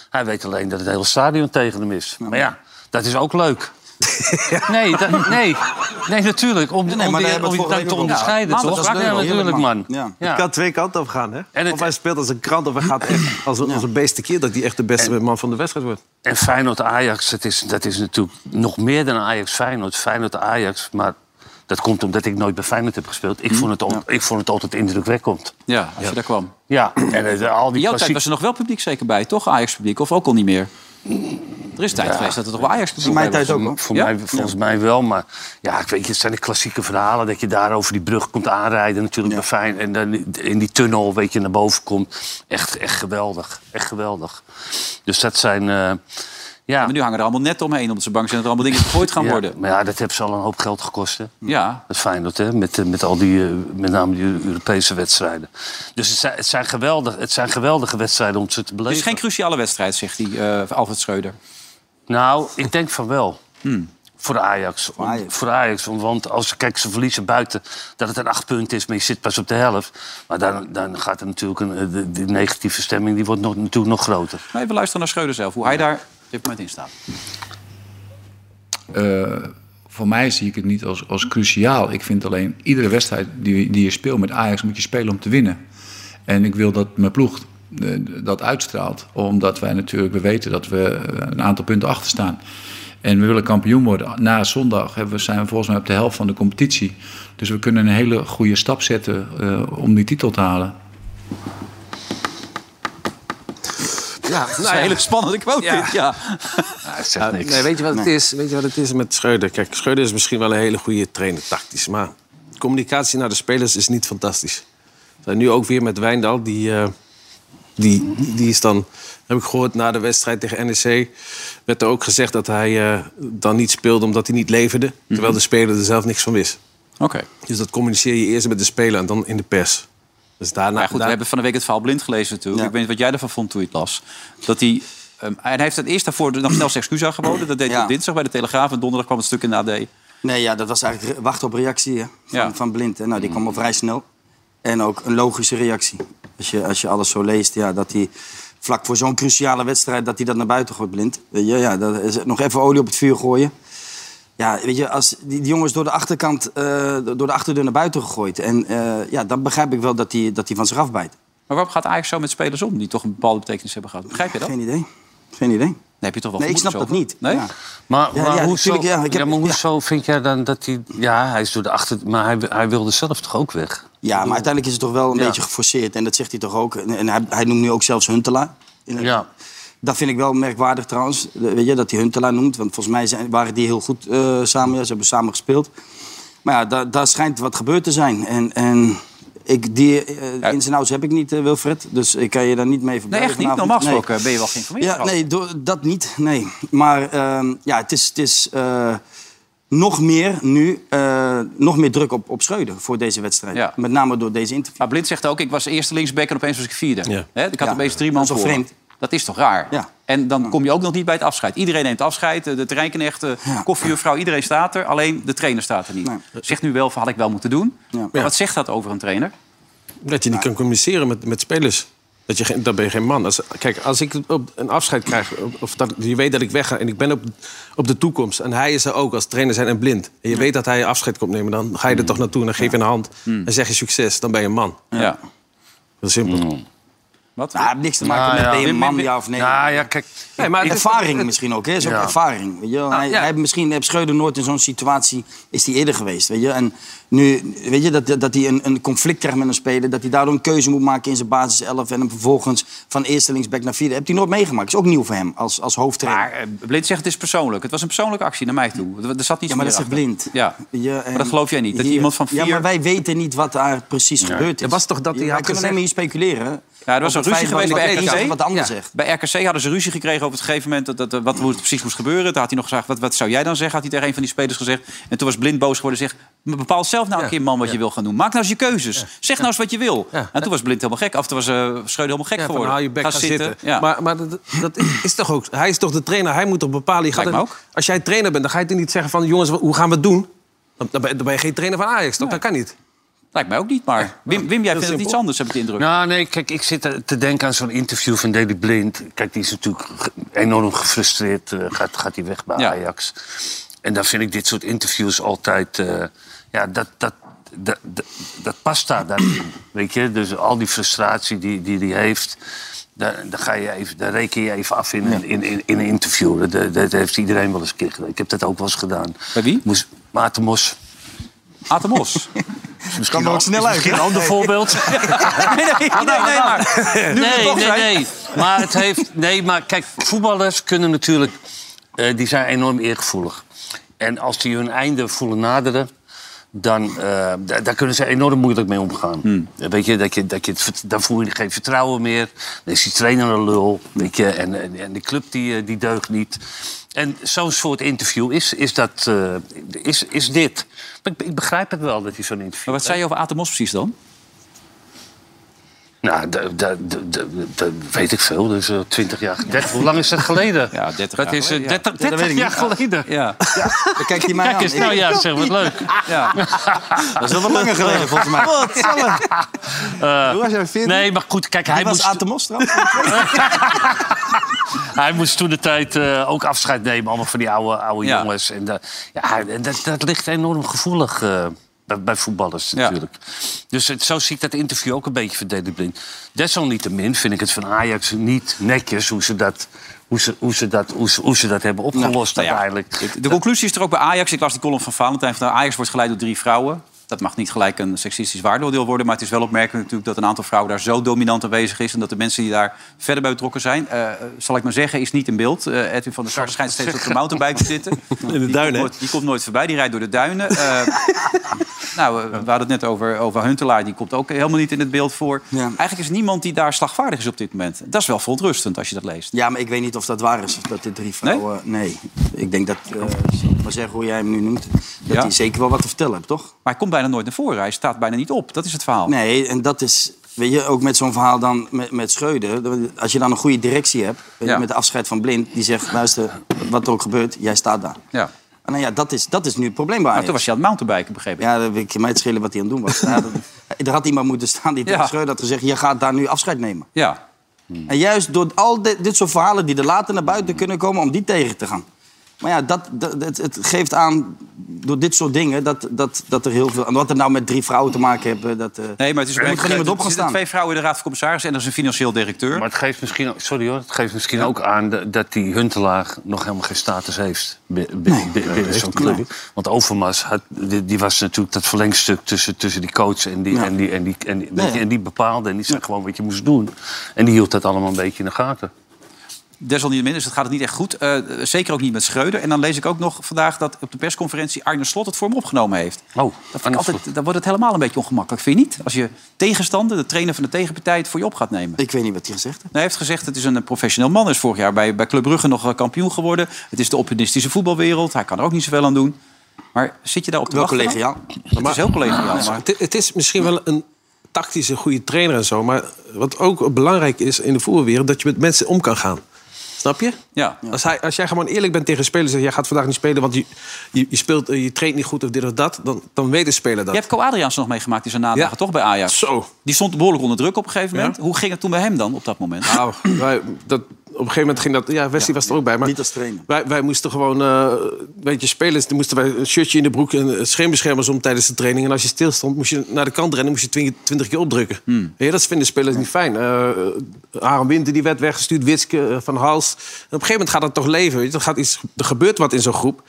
D: Hij weet alleen dat het hele stadion tegen hem is. Maar ja, dat is ook
E: [LAUGHS]
D: leuk. nee, dat- nee, nee, natuurlijk. Om,
E: nee, maar
D: om,
E: daar
D: die,
E: hebben we het
D: om die dan te
E: vorige week over gehad.
D: onderscheiden,
E: Maandag
D: toch?
E: was het
D: Ja,
E: leuk,
D: natuurlijk,
E: heerlijk,
D: man.
E: man. Ja.
D: Ja.
G: Het kan twee kanten op gaan, hè?
D: het-
G: of hij speelt als een krant of hij gaat echt als een, als een beestenkeel... dat hij echt de beste man van de wedstrijd wordt.
D: En Feyenoord-Ajax, dat is, dat is natuurlijk nog meer dan Ajax-Feyenoord. Feyenoord-Ajax, maar dat komt omdat ik nooit bij Feyenoord heb gespeeld.
E: Hm.
D: Ik, vond, het al, ik vond het altijd indrukwekkend.
B: Ja, als je daar kwam.
D: Ja, [CLEARS THROAT] en eh, al
B: In
D: die
B: jouw tijd
D: klassiek...
B: was er nog wel publiek zeker bij, toch? Ajax-publiek, of ook al niet meer? Er is tijd geweest dat er toch wel Ajax-publiek
E: In mijn
B: bij
E: tijd
B: was.
E: ook. hoor.
D: Voor
B: Ja?
D: mij, volgens mij wel, maar ja, ik weet, je, het zijn de klassieke verhalen dat je daar over die brug komt aanrijden, natuurlijk bij Fijn, en dan in die tunnel, weet je, naar boven komt. Echt, echt geweldig, echt geweldig. Dus dat zijn, eh, ja,
B: Maar nu hangen er allemaal net omheen, omdat ze bang zijn dat er allemaal dingen gegooid gaan
D: ja,
B: worden.
D: maar ja, dat heeft ze al een hoop geld gekost, hè?
B: Ja,
D: Dat Feyenoord, hè? Met, eh, met al die, eh, met name die Europese wedstrijden. Dus het zijn, het zijn, geweldig, het zijn geweldige wedstrijden om ze te
B: het
D: beleven.
B: is geen cruciale wedstrijd, zegt die eh Alfred Schreuder. Hmm.
D: Nou, ik denk van wel. Voor Ajax. Om-
E: Ajax.
D: Voor Ajax. om- Want als kijk, ze verliezen buiten dat het een acht punt is, maar je zit pas op de helft. Maar dan, dan gaat er natuurlijk een, eh, de, die negatieve stemming die wordt nog, natuurlijk nog groter.
B: Maar even luisteren naar Schreuder zelf, hoe hij daar op dit moment in staat.
I: Eh, voor mij zie ik het niet als, als cruciaal. Ik vind alleen, iedere wedstrijd die, die je speelt met Ajax moet je spelen om te winnen. En ik wil dat mijn ploeg eh, dat uitstraalt. Omdat wij natuurlijk, we weten dat we eh, een aantal punten achter staan. En we willen kampioen worden. Na zondag hebben we, zijn we volgens mij op de helft van de competitie. Dus we kunnen een hele goede stap zetten eh, om die titel te halen.
C: Ja,
B: Dat is een hele spannende quote, dit, ja.
D: zegt niks.
C: Nee, weet je wat het is? Weet je wat het is met Schreuder? Kijk, Schreuder is misschien wel een hele goede trainer tactisch, maar communicatie naar de spelers is niet fantastisch. We zijn nu ook weer met Wijndal, die, eh, die, die is dan, heb ik gehoord na de wedstrijd tegen NEC, werd er ook gezegd dat hij eh, dan niet speelde omdat hij niet leverde, terwijl de speler er zelf niks van wist.
B: Mhm. Oké.
C: Dus dat communiceer je eerst met de speler en dan in de pers. Dus daarna.
B: Maar Nou ja, goed, we
C: daar-
B: hebben van de week het verhaal blind gelezen natuurlijk.
E: Ja.
B: Ik weet niet wat jij ervan vond toen je het las. Dat hij... ehm, en hij heeft het eerst daarvoor nog snel zijn excuus aangeboden. Dat deed hij
E: Ja.
B: op dinsdag bij de Telegraaf. En donderdag kwam het stuk in de AD.
E: Nee, ja, dat was eigenlijk re- wachten op reactie hè, van,
B: Ja.
E: van Blind. Hè. Nou, die kwam al vrij snel. En ook een logische reactie. Als je, als je alles zo leest, ja, dat hij vlak voor zo'n cruciale wedstrijd... dat hij dat naar buiten gooit, Blind. Weet je, ja, dat is nog even olie op het vuur gooien. Ja, weet je, als die, die jongens door de achterkant, eh, door de achterdeur naar buiten gegooid. En eh, ja, dan begrijp ik wel dat hij dat hij van zich afbijt.
B: Maar waarom gaat Ajax zo met spelers om die toch een bepaalde betekenis hebben gehad? Begrijp je dat?
E: Geen idee. Geen idee.
B: Nee, heb je toch wel
E: Nee, ik snap
B: vermoedens
E: dat niet.
B: over? Nee?
E: Ja.
D: Maar,
E: Ja,
D: maar
E: ja,
D: hoezo,
E: natuurlijk, ja, ik heb-
D: ja, maar
E: ja.
D: hoezo vind jij dan dat hij... Ja, hij is door de achter... Maar hij, hij wilde zelf toch ook weg?
E: Ja, maar uiteindelijk is het toch wel een
D: Ja.
E: beetje geforceerd. En dat zegt hij toch ook. En en hij, hij noemt nu ook zelfs Huntelaar. In-
D: Ja.
E: Dat vind ik wel merkwaardig trouwens. De- Weet je, dat hij Huntelaar noemt. Want volgens mij zijn, waren die heel goed eh, samen. Ja, ze hebben samen gespeeld. Maar ja, da- daar schijnt wat gebeurd te zijn. En, en ik, die eh, ins en outs heb ik niet, eh, Wilfred. Dus ik kan je daar niet mee
B: Nee,
E: verbergen.
B: echt niet.
E: vanavond.
B: Normaal
E: Nee.
B: gesproken ben je wel geïnformeerd.
E: Ja,
B: erover.
E: nee, door- dat niet. Nee. Maar ehm, ja, het is, het is eh, nog meer nu eh, nog meer druk op, op Schreuder voor deze wedstrijd.
B: Ja.
E: Met name door deze interview.
B: Maar Nou, Blind zegt ook, ik was eerste linksback en opeens was ik vierde.
C: Ja.
B: Hè, ik had
E: Ja,
B: opeens drie man
E: dat is
B: voor.
E: wel
B: me.
E: vreemd.
B: Dat is toch raar?
E: Ja.
B: En dan kom je ook nog niet bij het afscheid. Iedereen neemt afscheid. eh, De terreinknecht, de
E: Ja.
B: koffiejuffrouw, iedereen staat er. Alleen de trainer staat er niet.
E: Nee.
B: Zegt nu wel, van, had ik wel moeten doen.
E: Ja.
B: Maar wat zegt dat over een trainer?
G: Dat je niet kan communiceren met, met spelers. Dat je geen, dan ben je geen man. Als, kijk, als ik op een afscheid krijg, of- of dat, je weet dat ik wegga en ik ben op, op de toekomst. En hij is er ook als trainer zijn en blind. En je weet dat hij afscheid komt nemen, dan ga je er toch naartoe en dan geef je een hand. En zeg je succes, dan ben je een man.
B: Ja.
G: Heel simpel.
B: Wat?
E: Nou, het heeft niks te maken
D: Nou,
E: met
D: ja.
E: ben je een man,
B: Wim-
E: ja of nee.
D: Nou ja, kijk...
G: Nee, maar het is-
E: ervaring misschien ook, hè? Is ook
D: Ja.
E: ervaring. Weet je? wel. hij, hij, misschien heeft Schreuder nooit in zo'n situatie is hij eerder geweest. Weet je? En nu, weet je, dat, dat hij een, een conflict krijgt met een speler... dat hij daardoor een keuze moet maken in zijn basiself... en hem vervolgens van eerste linksback naar vierde... hebt hij nooit meegemaakt. Is ook nieuw voor hem als, als hoofdtrainer.
B: Maar eh, Blind zegt, het is persoonlijk. Het was een persoonlijke actie naar mij toe. Er- Er zat iets
E: ja, maar
B: meer
E: dat zegt
B: achter.
E: blind.
B: Ja.
E: Weet je, en
B: Maar dat geloof jij niet. Dat
E: hier-
B: iemand van vier...
E: Ja, maar wij weten niet wat daar precies gebeurd is.
G: Het was toch dat hij
E: Wij
G: had
E: kunnen alleen maar hier speculeren.
B: Ja, er was
E: Over
B: een wat ruzie
E: Feyenoord
B: geweest bij
E: wat- iets
B: RKC.
E: wat anders zegt.
B: Bij RKC hadden ze ruzie gekregen op het gegeven moment dat, dat, eh, wat hoe het precies moest gebeuren. Daar had hij nog gezegd, wat, wat zou jij dan zeggen? Had hij tegen een van die spelers gezegd. En toen was Blind boos geworden en zegt, "Maar bepaal zelf nou een keer man wat je wil gaan doen. Maak nou eens je keuzes. Zeg nou eens wat je wil.
G: Ja.
B: En toen was Blind helemaal gek. Of toen was eh Schreuder helemaal gek
G: Ja, van
B: geworden.
G: haal je bek,
B: Ga
G: gaan zitten.
B: Ja.
G: Maar, maar dat, dat is toch ook... Hij is toch de trainer, hij moet toch bepalen... Je gaat
B: Lijkt me
G: het-
B: ook.
G: Als jij trainer bent, dan ga je toch niet zeggen van... jongens, wat- hoe gaan we het doen? Dan dan ben dan ben je geen trainer van Ajax, toch? Dat kan niet.
B: Lijkt mij ook niet, maar Wim, Wim jij vindt het
G: simpel.
B: iets anders, heb ik de indruk.
D: Nou, nee, kijk, ik zit er te denken aan zo'n interview van Daley Blind. Kijk, die is natuurlijk ge- enorm gefrustreerd. eh, gaat, gaat hij weg bij
B: Ja.
D: Ajax. En dan vind ik dit soort interviews altijd... eh, ja, dat, dat, dat, dat, dat past daar dan in, Weet je, dus al die frustratie die die, die heeft... Daar, daar, ga je even, daar reken je even af in, in, in, in een interview. Dat- Dat, dat heeft iedereen wel eens een keer gedaan. Ik heb dat ook wel eens gedaan.
B: Bij wie?
D: Moest, Maarten Mos.
B: Atemos.
D: Misschien
E: er ook
D: wel-
E: snel
D: is
E: uit,
D: Misschien
E: hè?
D: een ander voorbeeld.
B: [LAUGHS] nee, nee, nee, nee, maar... Nu we er
D: Ah, nou, Nee,
B: toch
D: nee,
B: zijn.
D: nee. Maar het heeft. Nee, maar kijk, voetballers kunnen natuurlijk. eh, die zijn enorm eergevoelig. En als die hun einde voelen naderen. Dan, eh, da- daar kunnen ze enorm moeilijk mee omgaan.
B: Hmm.
D: Weet je, dat je, dat je het vert- dan voel je geen vertrouwen meer. Dan is die trainer een lul. Weet je, en, en, en de club die, eh, die deugt niet. En zo'n soort interview is, is, dat, eh, is, is dit. Maar Ik, ik begrijp het wel dat hij zo'n interview
B: Maar wat zei je over Atemos precies dan?
D: Nou, dat weet ik veel. Dus eh, 20 jaar. 30, hoe lang is dat geleden?
B: Ja, 30
D: dat
B: jaar
D: is eh,
B: geleden, ja.
D: 30, 30 jaar geleden.
B: Ja,
E: Dan kijkt hij mij
D: Kijk
E: aan.
D: eens, nou
E: Ik-
D: ja, zeg wat
E: [LAUGHS]
D: leuk.
B: ja.
E: Dat is wel wat langer geleden, volgens mij. Wat?
D: Eh,
E: Hoe was jij 14?
D: nee, maar goed, kijk, hij
E: Hij was
D: moest,
E: aan de mos trouwens.
D: [LAUGHS] hij moest toen de tijd eh, ook afscheid nemen, allemaal van die oude, oude
B: Ja.
D: jongens. En, dat- ja, en dat, dat ligt enorm gevoelig eh, bij, bij voetballers
B: Ja.
D: natuurlijk. Dus het, zo zie ik dat interview ook een beetje van Daley Blind. Desalniettemin vind ik het van Ajax niet netjes hoe ze dat, hoe ze, hoe ze dat, hoe ze, hoe ze dat hebben opgelost
B: Nou ja,
D: uiteindelijk.
B: de- De conclusie is er ook bij Ajax. Ik las die column van Valentijn. Van, Ajax wordt geleid door drie vrouwen. Dat mag niet gelijk een seksistisch waardeoordeel worden. Maar het is wel opmerkelijk natuurlijk dat een aantal vrouwen daar zo dominant aanwezig is. En dat de mensen die daar verder bij betrokken zijn, eh, eh, zal ik maar zeggen, is niet in beeld. Eh, Edwin van der Sar schijnt steeds op de mountainbike te
E: [LAUGHS]
B: zitten. In de
F: duinen,
B: Komt
F: hè?
B: nooit, die komt nooit voorbij, die rijdt door de duinen. Eh, [LAUGHS] nou, eh, we hadden het net over, over Huntelaar. Die komt ook helemaal niet in het beeld voor.
E: Ja.
B: Eigenlijk is niemand die daar slagvaardig is op dit moment. Dat is wel verontrustend als je dat leest.
E: Ja, maar ik weet niet of dat waar is. Dat de drie vrouwen... eh, Nee. Ik denk dat... eh, zal ik maar zeggen hoe jij hem nu noemt. Dat
B: Ja.
E: hij zeker wel wat te vertellen hebt, toch?
B: Maar hij komt bijna nooit naar voren. Hij staat bijna niet op. Dat is het verhaal.
E: Nee, en dat is... Weet je, ook met zo'n verhaal dan met, met Schreuder. Als je dan een goede directie hebt... weet je,
B: Ja.
E: Met de afscheid van Blind. Die zegt, luister, wat er ook gebeurt, jij staat daar.
B: Ja.
E: En nou ja, dat is, dat is nu het probleem bij
B: Maar
E: Ajax.
B: toen was je aan het mountainbiken, begreep ik.
E: Ja, dat weet ik mij het schelen wat hij aan
B: [LAUGHS]
E: het doen was. Ja, dat, er had iemand moeten staan die tegen
B: Ja.
E: Schreuder had gezegd... je gaat daar nu afscheid nemen.
B: Ja.
E: En juist door al dit, dit soort verhalen die er later naar buiten kunnen komen... om die tegen te gaan. Maar ja, dat, dat, het, het geeft aan door dit soort dingen dat, dat, dat er heel veel... En wat er nou met drie vrouwen te maken hebben... Dat, eh,
B: Nee, maar het is
E: moet gewoon iemand op gaan
B: Er zitten
E: staan.
B: twee vrouwen in de Raad van Commissarissen en er is een financieel directeur.
D: Maar het geeft misschien, ook- sorry hoor, het geeft misschien ook aan de- dat die Huntelaar nog helemaal geen status heeft bi- bi- bi- binnen zo'n club. Want Overmars, had, die, die was natuurlijk dat verlengstuk tussen, tussen die coach en die, en die, en die, en die, weet je, en die bepaalde. En die zei gewoon wat je moest doen. En die hield dat allemaal een beetje in de gaten.
B: Desalniettemin is het gaat het niet echt goed. Eh, zeker ook niet met Schreuder. En dan lees ik ook nog vandaag dat op de persconferentie Arne Slot het voor hem opgenomen heeft.
D: Oh,
B: Dat vind
D: Arne
B: ik altijd, dan wordt het helemaal een beetje ongemakkelijk, vind je niet? Als je tegenstander, de trainer van de tegenpartij, het voor je op gaat nemen.
E: Ik weet niet wat hij gezegd heeft.
B: Nee, hij heeft gezegd, het is een professioneel man. Hij is vorig jaar bij, bij Club Brugge nog eh, kampioen geworden. Het is de opportunistische voetbalwereld. Hij kan er ook niet zoveel aan doen. Maar zit je daar op te
E: Wel
B: wachten? dan?
E: collegiaal.
B: Het is heel collegiaal. maar-
G: Het, het is misschien wel een tactische goede trainer en zo. Maar wat ook belangrijk is in de voetbalwereld... dat je met mensen om kan gaan. Snap je?
B: Ja.
G: Als, hij, als jij gewoon eerlijk bent tegen spelers... en jij gaat vandaag niet spelen, want je, je, je, speelt, eh, je traint niet goed of dit of dat... dan, dan weet de speler dat.
B: Je hebt Co Adriaans nog meegemaakt in zijn nadagen,
G: Ja.
B: toch, bij Ajax?
G: Zo.
B: Die stond behoorlijk onder druk op een gegeven moment. Hoe ging het toen bij hem dan op dat moment?
G: Nou, wij, dat, op een gegeven moment ging dat... Ja, Wesley was er ook bij. Maar
E: Niet als trainer.
G: Wij, wij moesten gewoon... eh, weet je, spelers... Dan moesten wij een shirtje in de broek en schermbeschermers om tijdens de training. En als je stilstond, moest je naar de kant rennen... moest je twintig, keer opdrukken.
B: Hmm.
G: Ja, dat vinden spelers niet fijn. Eh Aaron Winter die werd weggestuurd. Witske eh, van Hals. En op een gegeven moment gaat dat toch leven. Weet je? Dat gaat iets, er gebeurt wat in zo'n groep.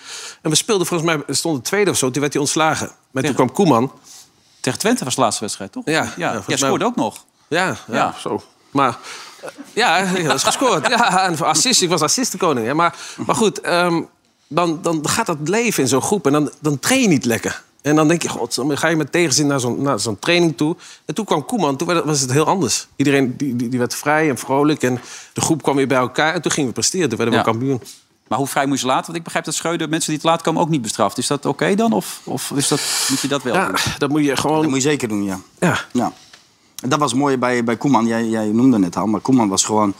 G: En we speelden volgens mij... we stonden tweede of zo. Toen werd hij ontslagen. Maar toen
B: Tegen-
G: kwam Koeman.
B: Tegen Twente was de laatste wedstrijd, toch?
G: Ja, ja,
B: ja.
G: volgens
B: Jij
G: mij-
B: scoorde ook nog.
G: Ja, ja,
B: Ja.
G: zo. Maar eh, ja, ja, dat is gescoord. Ja, en voor assist, ik was assistenkoning. Hè. Maar, maar goed, ehm, dan, dan gaat dat leven in zo'n groep en dan, dan train je niet lekker. En dan denk je, god, dan ga je met tegenzin naar zo'n, naar zo'n training toe. En toen kwam Koeman, toen werd- was het heel anders. Iedereen die, die, die werd vrij en vrolijk. En de groep kwam weer bij elkaar. En toen gingen we presteren. Toen werden we
B: Ja.
G: kampioen.
B: Maar hoe vrij moet je ze laten? Want ik begrijp dat Schreuder mensen die te laat komen ook niet bestraft. Is dat oké dan? Of, of is dat, moet je dat wel
G: Ja,
B: doen?
G: dat moet je
E: Dat
G: gewoon...
E: moet je zeker doen, ja.
G: Ja,
E: Ja. En Dat was mooi bij, bij Koeman. Jij, jij noemde het al, maar Koeman was gewoon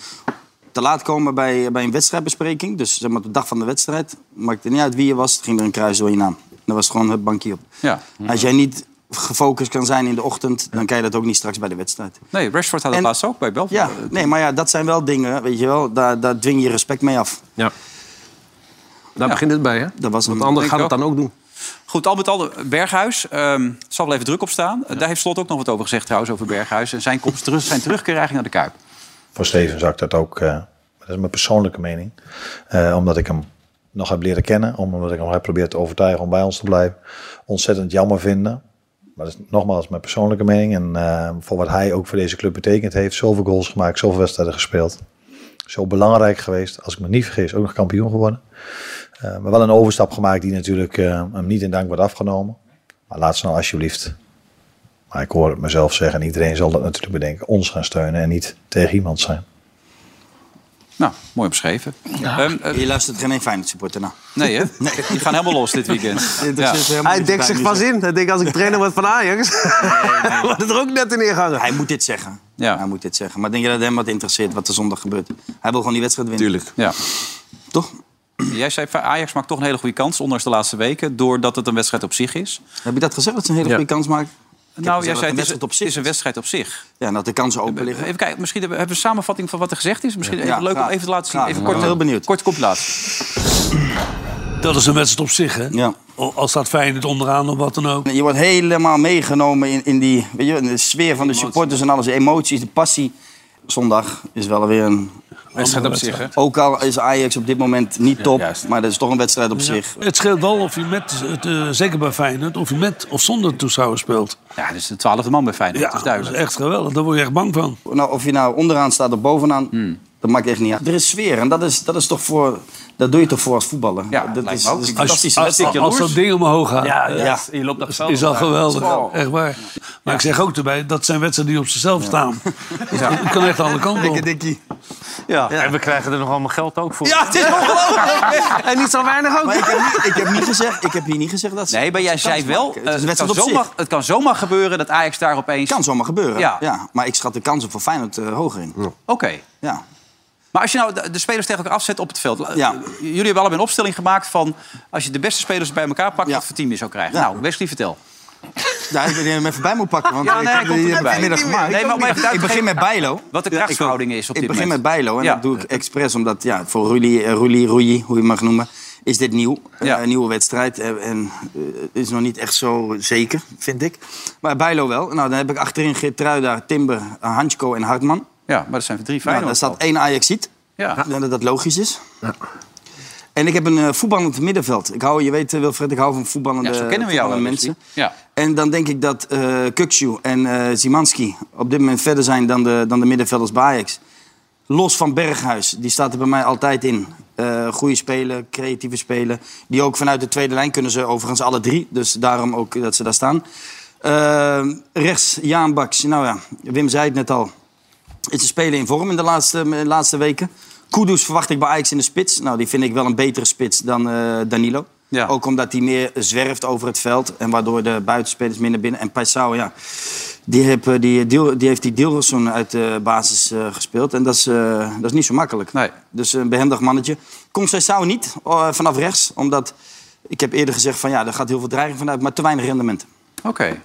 E: te laat komen bij, bij een wedstrijdbespreking. Dus zeg maar, de dag van de wedstrijd. Maakte niet uit wie je was, het ging er een kruis door je naam. Dat was gewoon het bankje op.
B: Ja.
E: Als jij niet gefocust kan zijn in de ochtend, dan kan je dat ook niet straks bij de wedstrijd.
B: Nee, Rashford had het
E: En-
B: laatst ook bij Belfast.
E: Ja, nee, maar ja, dat zijn wel dingen, weet je wel, daar, daar dwing je respect mee af.
G: ja. daar begint het bij, hè?
E: Dat was
G: Want
E: een,
G: anderen gaan
B: ik
G: het dan ook doen.
B: Goed, al met al, Berghuis. ehm zal wel even druk op staan. Daar heeft Slot ook nog wat over gezegd trouwens, over Berghuis. En zijn, komst terug, zijn terugkeer eigenlijk naar de Kuip.
J: Voor Steven zou ik dat ook, eh, dat is mijn persoonlijke mening, eh, omdat ik hem nog heb leren kennen, omdat ik hem heb proberen te overtuigen om bij ons te blijven, ontzettend jammer vinden. Maar dat is nogmaals mijn persoonlijke mening en eh, voor wat hij ook voor deze club betekend heeft, zoveel goals gemaakt, zoveel wedstrijden gespeeld. Zo belangrijk geweest, als ik me niet vergis, ook nog kampioen geworden. Eh, maar wel een overstap gemaakt die natuurlijk eh, hem niet in dank wordt afgenomen. Maar laat ze nou alsjeblieft maar ik hoor het mezelf zeggen, en iedereen zal dat natuurlijk bedenken, ons gaan steunen en niet tegen iemand zijn.
B: Nou, mooi beschreven. Ehm, eh,
E: je luistert geen één Feyenoord supporter nou. naar. [LAUGHS]
B: nee, hè? Die gaan helemaal los dit weekend. Ja.
E: Hij
G: in. Hij denkt, als ik trainer word van Ajax...
B: [LAUGHS]
G: wordt het er ook net in ingangen.
E: Hij moet dit zeggen.
B: Ja.
E: Hij moet dit zeggen. Maar denk je dat hem wat interesseert wat er zondag gebeurt? Hij wil gewoon die wedstrijd winnen.
G: Tuurlijk.
B: Ja.
E: Toch?
B: Jij zei, Ajax maakt toch een hele goede kans, ondanks de laatste weken, doordat het een wedstrijd op zich is.
E: Heb je dat gezegd dat ze een hele goede kans maken? Ik heb
B: nou, jij
E: gezegd
B: zei,
E: dat
B: het is,
E: het een wedstrijd op
B: het is een wedstrijd
E: zich.
B: op zich. Eh,
E: Ja, en dat de kansen open liggen.
B: Even kijken, misschien hebben we een samenvatting van wat er gezegd is. Misschien even
E: Ja,
B: leuk
E: graag.
B: om even te laten zien.
E: Graag.
B: Even
E: Ik
B: kort, eh,
E: ben heel benieuwd.
B: Kort compilatie.
K: Dat is een wedstrijd op zich, hè?
E: Ja.
K: Al al staat Feyenoord onderaan of wat dan ook.
E: Je wordt helemaal meegenomen in, in die weet je, in de sfeer van de supporters en alles. De emoties, de passie. Zondag is wel weer een...
G: Wedstrijd op zich, hè?
E: Ook al is Ajax op dit moment niet top, maar dat is toch een wedstrijd op zich.
K: Het scheelt wel of je met, het, eh, zeker bij Feyenoord, of je met of zonder toeschouwers speelt.
B: Ja, dus dit is de twaalfde man bij Feyenoord, dat is
K: dat is
B: duidelijk.
K: echt geweldig. Daar word je echt bang van.
E: Nou, of je nou onderaan staat of bovenaan,
B: Hmm.
E: dat maakt echt niet uit. Er is sfeer en dat, is, dat, is toch voor, dat doe je toch voor als voetballer.
B: Ja,
E: dat
B: lijkt
E: is,
B: me ook.
E: dat is een
B: Als je-
E: fantastische
K: Als,
E: wedstrijd.
K: als, als dat ding omhoog gaat,
F: Ja,
D: eh,
E: ja.
F: ja. je loopt op het veld.
K: is al geweldig.
F: Wow.
K: Echt waar. Maar ik zeg ook erbij, dat zijn wedstrijden die op zichzelf
E: [LAUGHS]
K: staan. Het kan echt alle kanten op.
F: Ja, En we krijgen er nog allemaal geld ook voor.
B: het is
G: [LAUGHS] En niet zo weinig ook.
E: Maar ik heb, niet, ik, heb niet gezegd, ik heb hier niet gezegd dat ze...
B: Nee, maar jij
E: dat ze
B: zei
E: kans
B: wel,
E: maken.
B: eh,
E: Het is een
B: het, kan
E: wedstrijd op
B: zomaar,
E: zich.
B: het kan zomaar gebeuren dat Ajax daar opeens...
E: Kan zomaar gebeuren,
B: Ja.
E: ja. Maar ik schat de kansen voor Feyenoord eh, hoger in. Ja.
B: Oké. Maar als je nou de, de spelers tegen elkaar afzet op het veld... eh,
E: Ja.
B: Jullie hebben allebei een opstelling gemaakt van... als je de beste spelers bij elkaar pakt,
E: Ja.
B: wat voor team je zou krijgen.
E: Ja.
B: Nou, Wesley, vertel.
E: Ja, ik weet niet of je hem even bij moet pakken, want
B: Ja, nee,
E: ik
B: hij
E: heb
B: komt er
E: die
B: net bij.
E: vanmiddag
B: Nee,
E: gemaakt.
B: maar om even duidelijk
E: ik
B: te
E: begin met Bijlo.
B: Wat de
E: Ja, ik-
B: krachtsverhouding is op dit
E: Ik begin
B: moment.
E: met Bijlo en
B: Ja.
E: dat doe ik expres omdat ja, voor Ruli, eh, Ruli, Rui, hoe je hem mag noemen, is dit nieuw.
B: Ja.
E: Eh, een nieuwe wedstrijd eh, en eh, is nog niet echt zo zeker, vind ik. Maar Bijlo wel. Nou, dan heb ik achterin Geertruida, Timber, Hansko en Hartman.
B: Ja, maar dat zijn drie
E: Nou,
B: Feyenoord.
E: daar staat één Ajaxiet.
B: Ja.
E: Ik denk dat dat logisch is. En ik heb een eh, voetballend middenveld. Ik hou, je weet eh, Wilfred, ik hou van voetballende,
B: ja, zo kennen we jou wel, dus
E: voetballende
B: Wesley.
E: mensen.
B: Ja.
E: En dan denk ik dat eh Kukçu en eh Zimanski op dit moment verder zijn dan de, dan de middenvelders bij Ajax. Los van Berghuis, die staat er bij mij altijd in. Eh goede speler, creatieve speler. Die ook vanuit de tweede lijn kunnen ze overigens alle drie. Dus daarom ook dat ze daar staan. Eh, rechts, Jaan Baks. Nou ja, Wim zei het net al. Het Is een speler in vorm in de laatste, eh, in de laatste weken. Kudus verwacht ik bij Ajax in de spits. Nou, die vind ik wel een betere spits dan eh, Danilo.
B: Ja.
E: Ook omdat hij meer zwerft over het veld. En waardoor de buitenspelers minder binnen. En Paisao, ja. Die, heb, eh, die, Dil- die heeft die Dilrosun uit de basis eh, gespeeld. En dat is, eh, dat is niet zo makkelijk.
B: Nee.
E: Dus een behendig mannetje. Komt Paisao niet eh, vanaf rechts. Omdat ik heb eerder gezegd van ja, daar gaat heel veel dreiging vanuit. Maar te weinig
F: [LAUGHS]
E: rendement.
B: Oké.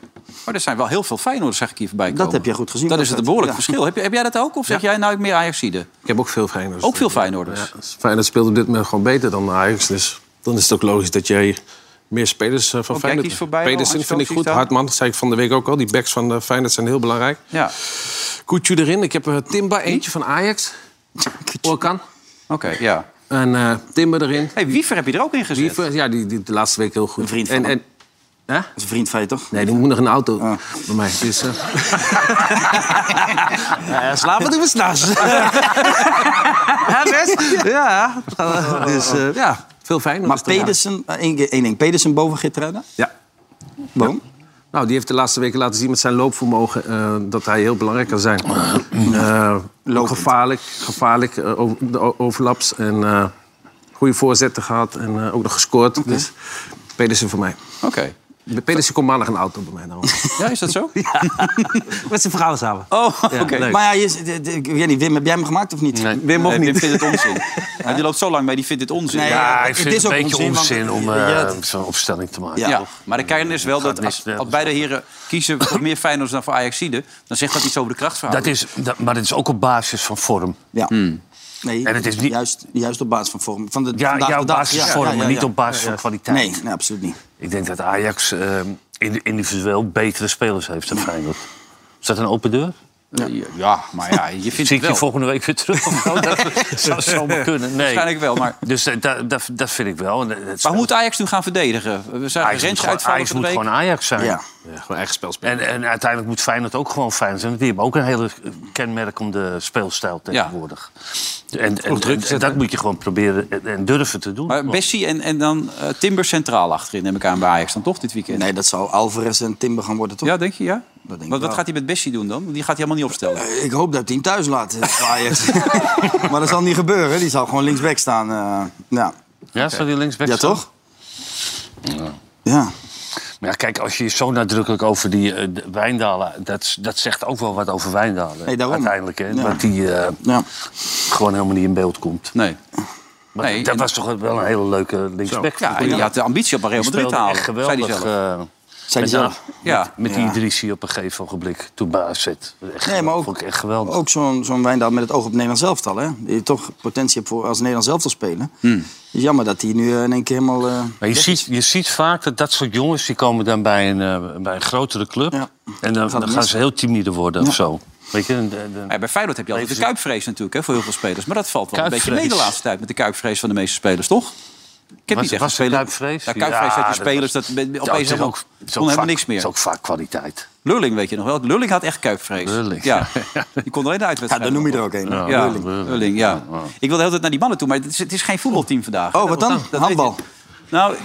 B: Maar er zijn wel heel veel Feyenoord, zeg ik hier voorbij komen.
E: Dat heb je goed gezien,
B: Dan is het een behoorlijk
E: ja.
B: verschil. Heb, je- heb jij dat ook? Of zeg jij nou meer Ajaxide?
G: Ik heb ook veel Feyenoorders.
B: Ook veel Feyenoorders.
G: Feyenoord speelt op dit moment gewoon beter dan Ajax. Dus dan is het ook logisch dat jij meer spelers eh, van
B: Ook jij
G: Feyenoord...
B: kiest voor Bijlo,
G: Pedersen
B: Hansko,
G: vind ik
B: zie
G: goed.
B: ik daar.
G: Hartman, dat zei ik van de week ook al. Die backs van eh, Feyenoord zijn heel belangrijk.
B: Ja.
G: Koetje erin. Ik heb eh, Timba, eentje van Ajax. Orkan.
B: Oké, ja.
G: En eh, Timber erin.
B: Hey, Wiever heb je er ook in gezet.
G: Die, ver- ja, die, die de laatste week heel goed.
E: Een vriend van
G: en,
E: hem.
G: en, hè?
E: Dat is een vriend van je, toch?
G: Nee, die moet nog een auto bij mij. Dus, eh,
F: Eh, Slapen doen we
E: [LAUGHS]
F: s'nachts. [LAUGHS]
G: ja, best. Ja, dus eh, ja, veel Feyenoorders.
E: Oh. Maar [LAUGHS]
G: erbij.
E: Pedersen, eh, één keer- één ding. Pedersen boven Geertruida?
G: Ja.
E: Waarom?
G: Nou, die heeft de laatste weken laten zien met zijn loopvermogen eh, dat hij heel belangrijk kan
B: [CLEARS THROAT]
G: zijn. Eh, gevaarlijk, gevaarlijk eh, over- de o- overlaps en eh, goede voorzetten gehad en eh, ook nog gescoord. Dus Pedersen voor mij.
B: Oké.
G: Pedersen komt maandag een auto bij mij. Nou.
B: [LAUGHS] Ja, is dat zo?
G: Met zijn verhalen [LAUGHS] samen.
B: Oh, oké.
E: Maar ja, je, d- d- ik weet niet, Wim, heb jij hem gemaakt of niet?
B: Eh, Wim mocht niet. vindt het onzin. Hij Die loopt zo lang mee, die vindt het onzin.
E: Nee, Ja, ja, ik het vind is het een ook beetje
D: onzin om
B: eh,
D: eh, zo'n opstelling te maken.
B: Ja,
D: toch?
B: maar de kern is wel dat als, als beide heren kiezen voor meer Feyenoord dan voor Ajaxide... dan zegt dat iets over de
D: Dat
B: krachtverhouding.
D: is, dat, maar dat is ook op basis van vorm.
E: Ja.
K: Hmm.
E: Nee,
D: En het is niet-
E: [LAUGHS] juist, juist op basis van vorm. Van de,
D: Ja,
E: vandaag
D: jouw
E: de dag.
D: basis
E: Ja,
D: vorm,
E: ja, ja,
D: maar
E: ja.
D: niet op basis
E: Ja,
D: van
E: ja.
D: kwaliteit.
E: Nee, nee, absoluut niet.
D: Ik denk dat Ajax eh, indi- individueel betere spelers heeft dan Feyenoord. Is dat een open deur?
B: Ja, ja, maar ja, je vindt
D: Zie ik
B: het wel.
D: je volgende week weer terug? Of
B: [LAUGHS]
D: zo? dat zou zomaar kunnen. Nee.
B: Waarschijnlijk wel, maar...
D: Dus dat, dat, dat, dat vind ik wel. En dat- dat-
B: Maar hoe moet Ajax nu gaan verdedigen? We zagen
D: Ajax moet,
B: Rens
D: gewoon,
B: uitvallen
D: Ajax
B: van de week.
D: moet gewoon Ajax zijn.
E: Ja.
G: gewoon eigen spel spelen.
D: En, en uiteindelijk moet Feyenoord ook gewoon Feyenoord zijn. Want die hebben ook een hele eh, kenmerkende speelstijl tegenwoordig. En, en,
B: druk
D: en- en dat moet je gewoon proberen en, en durven te doen.
B: Maar Bessie en, en dan eh, Timber centraal achterin, neem ik aan, bij Ajax dan toch dit weekend?
E: Nee, dat zou Alvarez en Timber gaan worden, toch?
B: Ja, denk je, ja?
E: Dat denk
B: Wat,
E: ik
B: wat
E: wel.
B: gaat hij met Bessie doen dan? Die gaat hij helemaal niet opstellen.
E: Eh, Ik hoop dat hij hem thuis laat, eh, voor
D: [LAUGHS]
E: Ajax. [LAUGHS] maar dat zal niet gebeuren. Die zal gewoon linksback staan. eh, ja.
D: Ja, zou die linksback
E: ja,
D: staan?
E: toch? Ja.
D: Maar ja, kijk, als je zo nadrukkelijk over die eh, de- Wijndalen... Dat, s- dat zegt ook wel wat over Wijndalen.
E: Nee, daarom.
D: Uiteindelijk, hè.
E: Ja.
D: Dat die eh,
E: Ja.
D: gewoon helemaal niet in beeld komt.
B: Nee.
D: Maar
B: Nee,
D: dat
B: en-
D: was toch wel een hele leuke linksback.
B: Ja, en die had de ambitie om Real
D: Die
B: Madrid te
D: speelde
B: halen.
D: echt
B: zei hij
D: geweldig.
B: zelf.
D: eh,
E: Zijn die
D: met-
E: zelf?
B: Ja.
D: Met die
E: Ja.
D: Idrissi op een gegeven ogenblik toen bij AZ. Echt,
E: Nee, maar ook-
D: vond ik echt geweldig.
E: Ook zo'n zo'n Wijndal met het oog op Nederland zelftal. Hè? Die toch potentie hebt voor als Nederland zelf te spelen.
B: Hm.
E: Jammer dat hij nu eh, in één keer helemaal... eh,
D: Maar je, ziet, je ziet vaak dat dat soort jongens... die komen dan bij een, eh, bij een grotere club...
E: Ja.
D: en dan,
E: Gaat het
D: dan gaan
E: mis.
D: ze heel timide worden
E: Ja.
D: of zo. Weet je, en- en- en-
B: Ja, bij Feyenoord heb je altijd de
D: Even-
B: kuipvrees natuurlijk hè, voor heel veel spelers. Maar dat valt wel een beetje
D: Kuipvrees.
B: mee de laatste tijd met de kuipvrees van de meeste spelers, toch? Ik heb
D: Was-
B: niet echt
D: was
B: een
D: er
B: speler-
D: kuipvrees?
B: Ja, kuipvrees
D: Ja,
B: had je
D: dat
B: spelers, dat,
D: was-
B: ben-
D: Ja,
B: opeens
D: het is
B: helemaal,
D: ook- het is ook
B: kon helemaal
D: vaak-
B: niks meer.
D: Het is ook vaak kwaliteit.
B: Lulling weet je nog wel. Lulling had echt kuipvrees. [LAUGHS]
D: Lulling.
B: Ja. Die kon alleen de
E: ja,
B: uitwedstrijd.
E: daar noem je er ook een.
D: Ja.
B: Ja,
E: Lulling.
B: Lulling. ja. Ik wilde heel tijd naar die mannen toe, maar het is, het is geen voetbalteam vandaag.
E: Oh, wat dan?
B: Dat weet je.
E: Handbal.
B: Nou,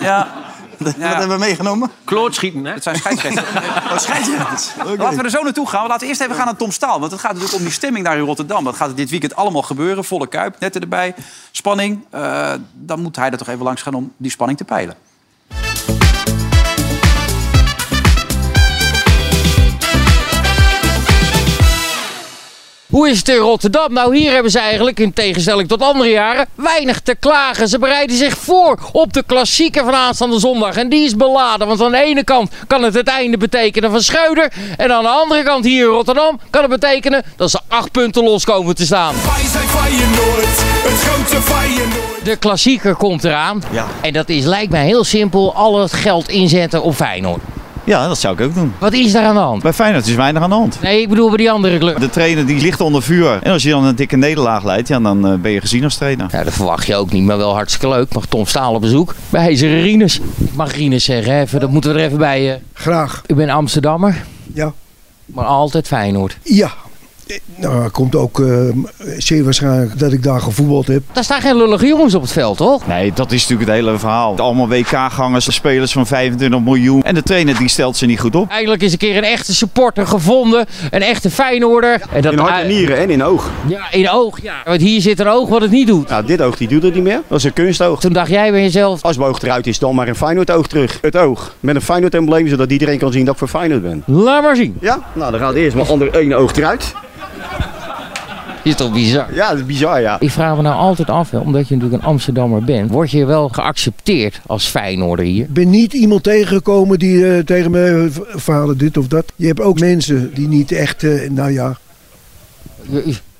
B: ja,
E: Wat hebben we meegenomen?
G: Klootschieten, hè?
B: het zijn scheidsrechters.
E: [LAUGHS] Oh, scheidsrechters. Oké.
B: Laten we er zo naartoe gaan. We laten eerst even gaan naar Tom Staal. Want het gaat natuurlijk om die stemming daar in Rotterdam. Wat gaat er dit weekend allemaal gebeuren? Volle kuip, netten erbij, spanning. Eh, dan moet hij er toch even langs gaan om die spanning te peilen.
L: Hoe is het in Rotterdam? Nou, hier hebben ze eigenlijk, in tegenstelling tot andere jaren, weinig te klagen. Ze bereiden zich voor op de klassieker van aanstaande zondag. En die is beladen, want aan de ene kant kan het het einde betekenen van Schreuder. En aan de andere kant hier in Rotterdam kan het betekenen dat ze acht punten los komen te staan.
M: Wij zijn Feyenoord, het grote Feyenoord.
L: De klassieker komt eraan. En dat is, lijkt mij heel simpel, al het geld inzetten op Feyenoord.
N: Ja, dat zou ik ook doen.
L: Wat is daar aan de hand?
N: Bij Feyenoord is weinig aan de hand.
L: Nee, ik bedoel bij die andere club.
N: De trainer die ligt onder vuur. En als je dan een dikke nederlaag leidt, ja, dan eh, ben je gezien als trainer.
L: Ja, dat verwacht je ook niet, maar wel hartstikke leuk. Mag Tom Staal op bezoek bij Hezeren Rines. Ik mag Rines zeggen, hè, even, dat moeten we er even bij. eh.
O: Graag,
L: Ik ben Amsterdammer,
O: ja.
L: maar altijd Feyenoord.
O: Ja. Eh, Nou, dat komt ook eh, zeer waarschijnlijk dat ik daar gevoetbald heb.
L: Daar staan geen lullige jongens op het veld, toch?
N: Nee, dat is natuurlijk het hele verhaal. Allemaal WK-gangers, spelers van 25 miljoen. En de trainer die stelt ze niet goed op.
L: Eindelijk is een keer een echte supporter gevonden, een echte Feyenoorder. En dat,
P: In hart en nieren en in oog.
L: Ja, in oog, ja. Want hier zit een oog wat het niet doet.
P: Nou, dit oog die doet het niet meer. Dat is een kunstoog.
L: Toen dacht jij bij jezelf...
P: Als mijn oog eruit is, dan maar een Feyenoord oog terug. Het oog. Met een Feyenoord embleem, zodat iedereen kan zien dat ik voor Feyenoord ben.
L: Laat maar zien.
P: Ja? Nou, dan gaat eerst mijn ander één oog eruit.
L: Is toch bizar?
P: Ja, dat is bizar, ja.
L: Ik vraag me nou altijd af, hè, omdat je natuurlijk een Amsterdammer bent, word je wel geaccepteerd als Feyenoorder hier?
O: Ik ben niet iemand tegengekomen die eh, tegen me v- verhalen dit of dat. Je hebt ook mensen die niet echt, eh, nou ja.